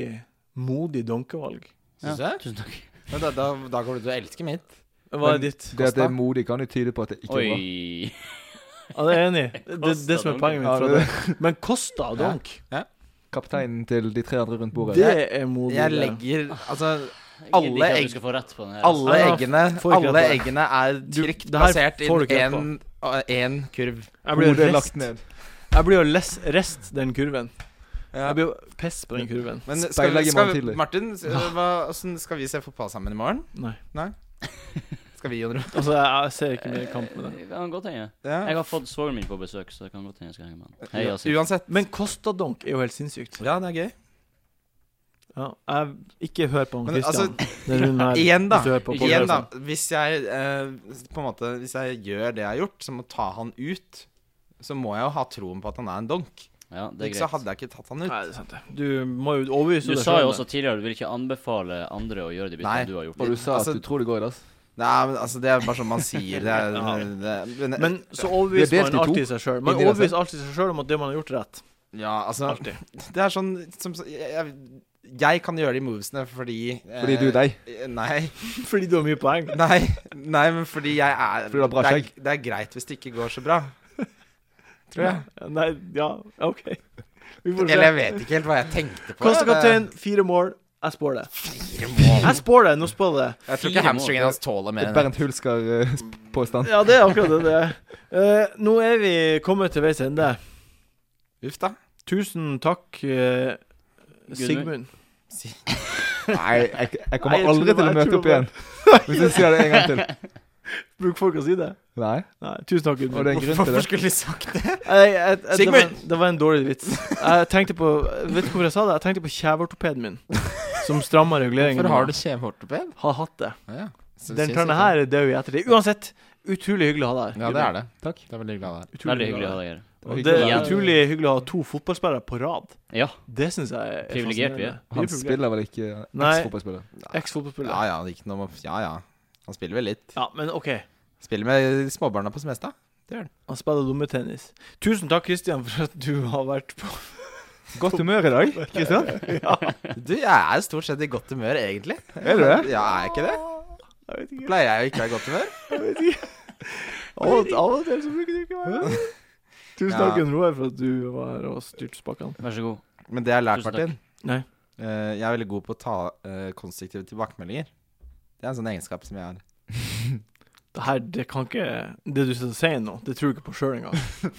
S1: modig donkevalg.
S2: Syns du
S3: Ja,
S2: det?
S3: Tusen takk.
S2: Men da, da, da kommer du til å elske mitt.
S1: Hva
S4: Men-
S1: er ditt?
S4: Det at det er modig, kan jo tyde på at det ikke er bra.
S3: Oi.
S1: Ja, det er jeg enig i. Det, det, det som er
S3: Costa
S1: poenget mitt.
S4: Ja,
S1: Fra
S4: det-
S1: det. Men Costa donk,
S4: Kapteinen til de tre andre rundt bordet.
S1: det er modig.
S2: Jeg
S1: det.
S2: legger Altså,
S3: Jeg gidder ikke at
S2: egg-
S3: du skal få rett på den her. altså.
S2: alle
S1: Ja,
S2: eggene
S1: får ikke
S2: Alle
S1: rett på det.
S2: eggene er
S1: Du-
S2: trygt
S1: det her
S2: plassert i
S1: får du ikke rett
S2: en- å, en kurv.
S1: Jeg blir
S4: Hodet
S1: jo
S4: er
S1: rest,
S4: lagt ned.
S1: jeg blir jo les, rest den kurven.
S2: Ja.
S1: Jeg blir jo piss på den kurven.
S2: Men skal,
S4: Speilegg i
S2: skal,
S4: morgen
S2: vi-
S4: tidlig.
S2: Martin, s- hva, hvordan skal vi se fotball sammen i morgen?
S1: Nei.
S2: Skal vi, Jon Roar?
S1: Altså, jeg, jeg ser ikke mer kamp med det.
S3: Eh, Det kan godt hende.
S2: Ja.
S3: Jeg har fått svogeren min på besøk, så det kan godt hende jeg skal henge med han. Hei, Yasin.
S2: Uansett.
S1: Men Costa donk er jo helt sinnssykt.
S2: Ja, det er gøy.
S1: Ja, jeg, ikke hør på han
S2: Men altså,
S1: Christian. Den runden her,
S2: Igjen, da.
S1: hvis du hører på
S2: Igjen, da.
S1: podcasten.
S2: Hvis jeg eh, på en måte Hvis jeg gjør det jeg har gjort, som å ta han ut, så må jeg jo ha troen på at han er en donk.
S3: Ja, det er
S2: Ikke så
S3: greit.
S2: hadde jeg ikke tatt han ut.
S1: Nei, det er sant, det. Du må jo overbevise
S3: Du
S1: deg
S3: sa jo
S1: selv.
S3: også tidligere at du vil ikke anbefale andre å gjøre de
S2: Nei.
S3: byttene du har gjort.
S4: Og du sa
S2: Altså-
S4: at du tror det går i dass.
S2: Nei, men altså, det er bare sånn man sier det. Er,
S1: Ja.
S2: det men,
S1: Men så
S4: Vi
S1: overbeviser
S4: er delt i
S1: man
S4: to.
S1: alltid seg sjøl. Man
S4: Inni deg
S1: overbeviser alltid seg sjøl om at det man har gjort, er rett.
S2: ja, altså
S1: Alltid.
S2: Det er sånn som Jeg, jeg- jeg kan gjøre de movesene fordi eh,
S4: Fordi du er deg.
S2: Nei.
S1: Fordi du har mye poeng.
S2: Nei, nei, men fordi jeg er
S4: Fordi du har bra
S2: det, er, det er greit hvis det ikke går så bra. Tror jeg.
S1: Nei, ja, OK. Vi får
S2: Eller
S1: se.
S2: jeg vet ikke helt hva jeg tenkte på.
S1: Costa
S2: Det-
S1: kaptein, fire mål. Jeg spår det.
S2: Fire mål.
S1: Jeg spår det, nå spår jeg det.
S2: Jeg tror
S3: Fire
S2: ikke hamstringen
S3: mål.
S2: hans tåler mer enn det.
S4: Bernt eh, Hulsker-påstand.
S1: Ja, det er akkurat det det er. Eh, nå er vi kommet til veis ende.
S2: Uff, da.
S1: Tusen takk, eh, Sigmund.
S4: Nei, jeg, jeg
S1: Nei,
S4: kommer
S1: jeg
S4: aldri
S1: tror-
S4: til å
S1: jeg
S4: møte
S1: tror
S4: opp igjen. Hvis du sier det en gang til.
S1: Bruker folk å si det?
S4: Nei.
S1: Nei, tusen takk,
S4: Og det er
S1: Gudmund.
S4: en grunn til
S2: Hvorfor
S4: det.
S2: skulle de sagt det?
S1: Jeg- jeg- jeg- Det, var
S2: Sigmund!
S1: en- det var en dårlig vits. Jeg tenkte på Vet du hvorfor jeg sa det? Jeg tenkte på kjeveortopeden min, som stramma reguleringen.
S2: Hvorfor har du kjeveortoped?
S1: Har hatt det.
S2: Ja, så
S1: Den
S2: syns
S1: tørna
S2: ikke.
S1: her er død i ettertid. Uansett, utrolig hyggelig å ha deg her.
S2: sånn. Ja, det er det.
S4: Takk.
S2: Det er veldig glad der.
S1: Utrolig
S3: Veldig hyggelig
S1: å
S3: å ha
S1: ha deg.
S3: deg her.
S1: Og
S4: Hyggelig
S1: Det
S4: å
S1: er
S4: være-
S1: utrolig hyggelig å ha to fotballspillere på rad.
S3: Ja.
S1: Det syns jeg er
S3: Privilegert vi er.
S1: fascinerende.
S4: Han
S1: privilegert.
S4: spiller vel ikke
S1: Nei.
S4: eks-fotballspiller?
S1: Eks-fotballspiller.
S2: Ja ja, det er ikke noe med Ja ja. Han spiller vel litt.
S1: Ja, men OK.
S2: Spiller med småbarna på Smestad.
S1: Han spiller lommetennis. Tusen takk, Christian, for at du har vært på
S4: Godt humør i dag, Kristian.
S2: Du, jeg er stort sett i godt humør, egentlig.
S4: Er du det?
S2: Ja, er jeg ikke det?
S1: Jeg vet ikke.
S2: Pleier jeg å ikke være i godt humør?
S1: Jeg vet ikke. Av og- av og til så bruker du ikke å være her. Tusen
S2: Ja.
S1: takk, Gunn Roar, for at du var her og styrte spakene.
S3: Vær så god.
S2: Men det jeg har lært,
S3: Tusen takk.
S2: Martin
S1: Nei.
S2: eh, Jeg er veldig god på å ta eh, konstruktive tilbakemeldinger. Det er en sånn egenskap som jeg har.
S1: Det her, det kan ikke Det du sitter og sier nå, det tror jeg ikke på sjøl engang.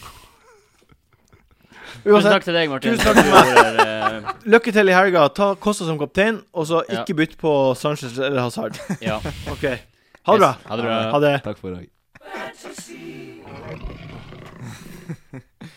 S3: Tusen
S1: Uansett,
S3: takk til deg, Martin.
S1: Tusen takk til
S3: meg.
S1: lykke til i helga. Ta Kosta som kaptein, og så
S3: Ja.
S1: ikke bytt på Sanchez eller Hazard.
S3: eh, Ja.
S1: OK. Ha det bra.
S3: Ha det bra.
S1: Ha det.
S4: Takk for i dag.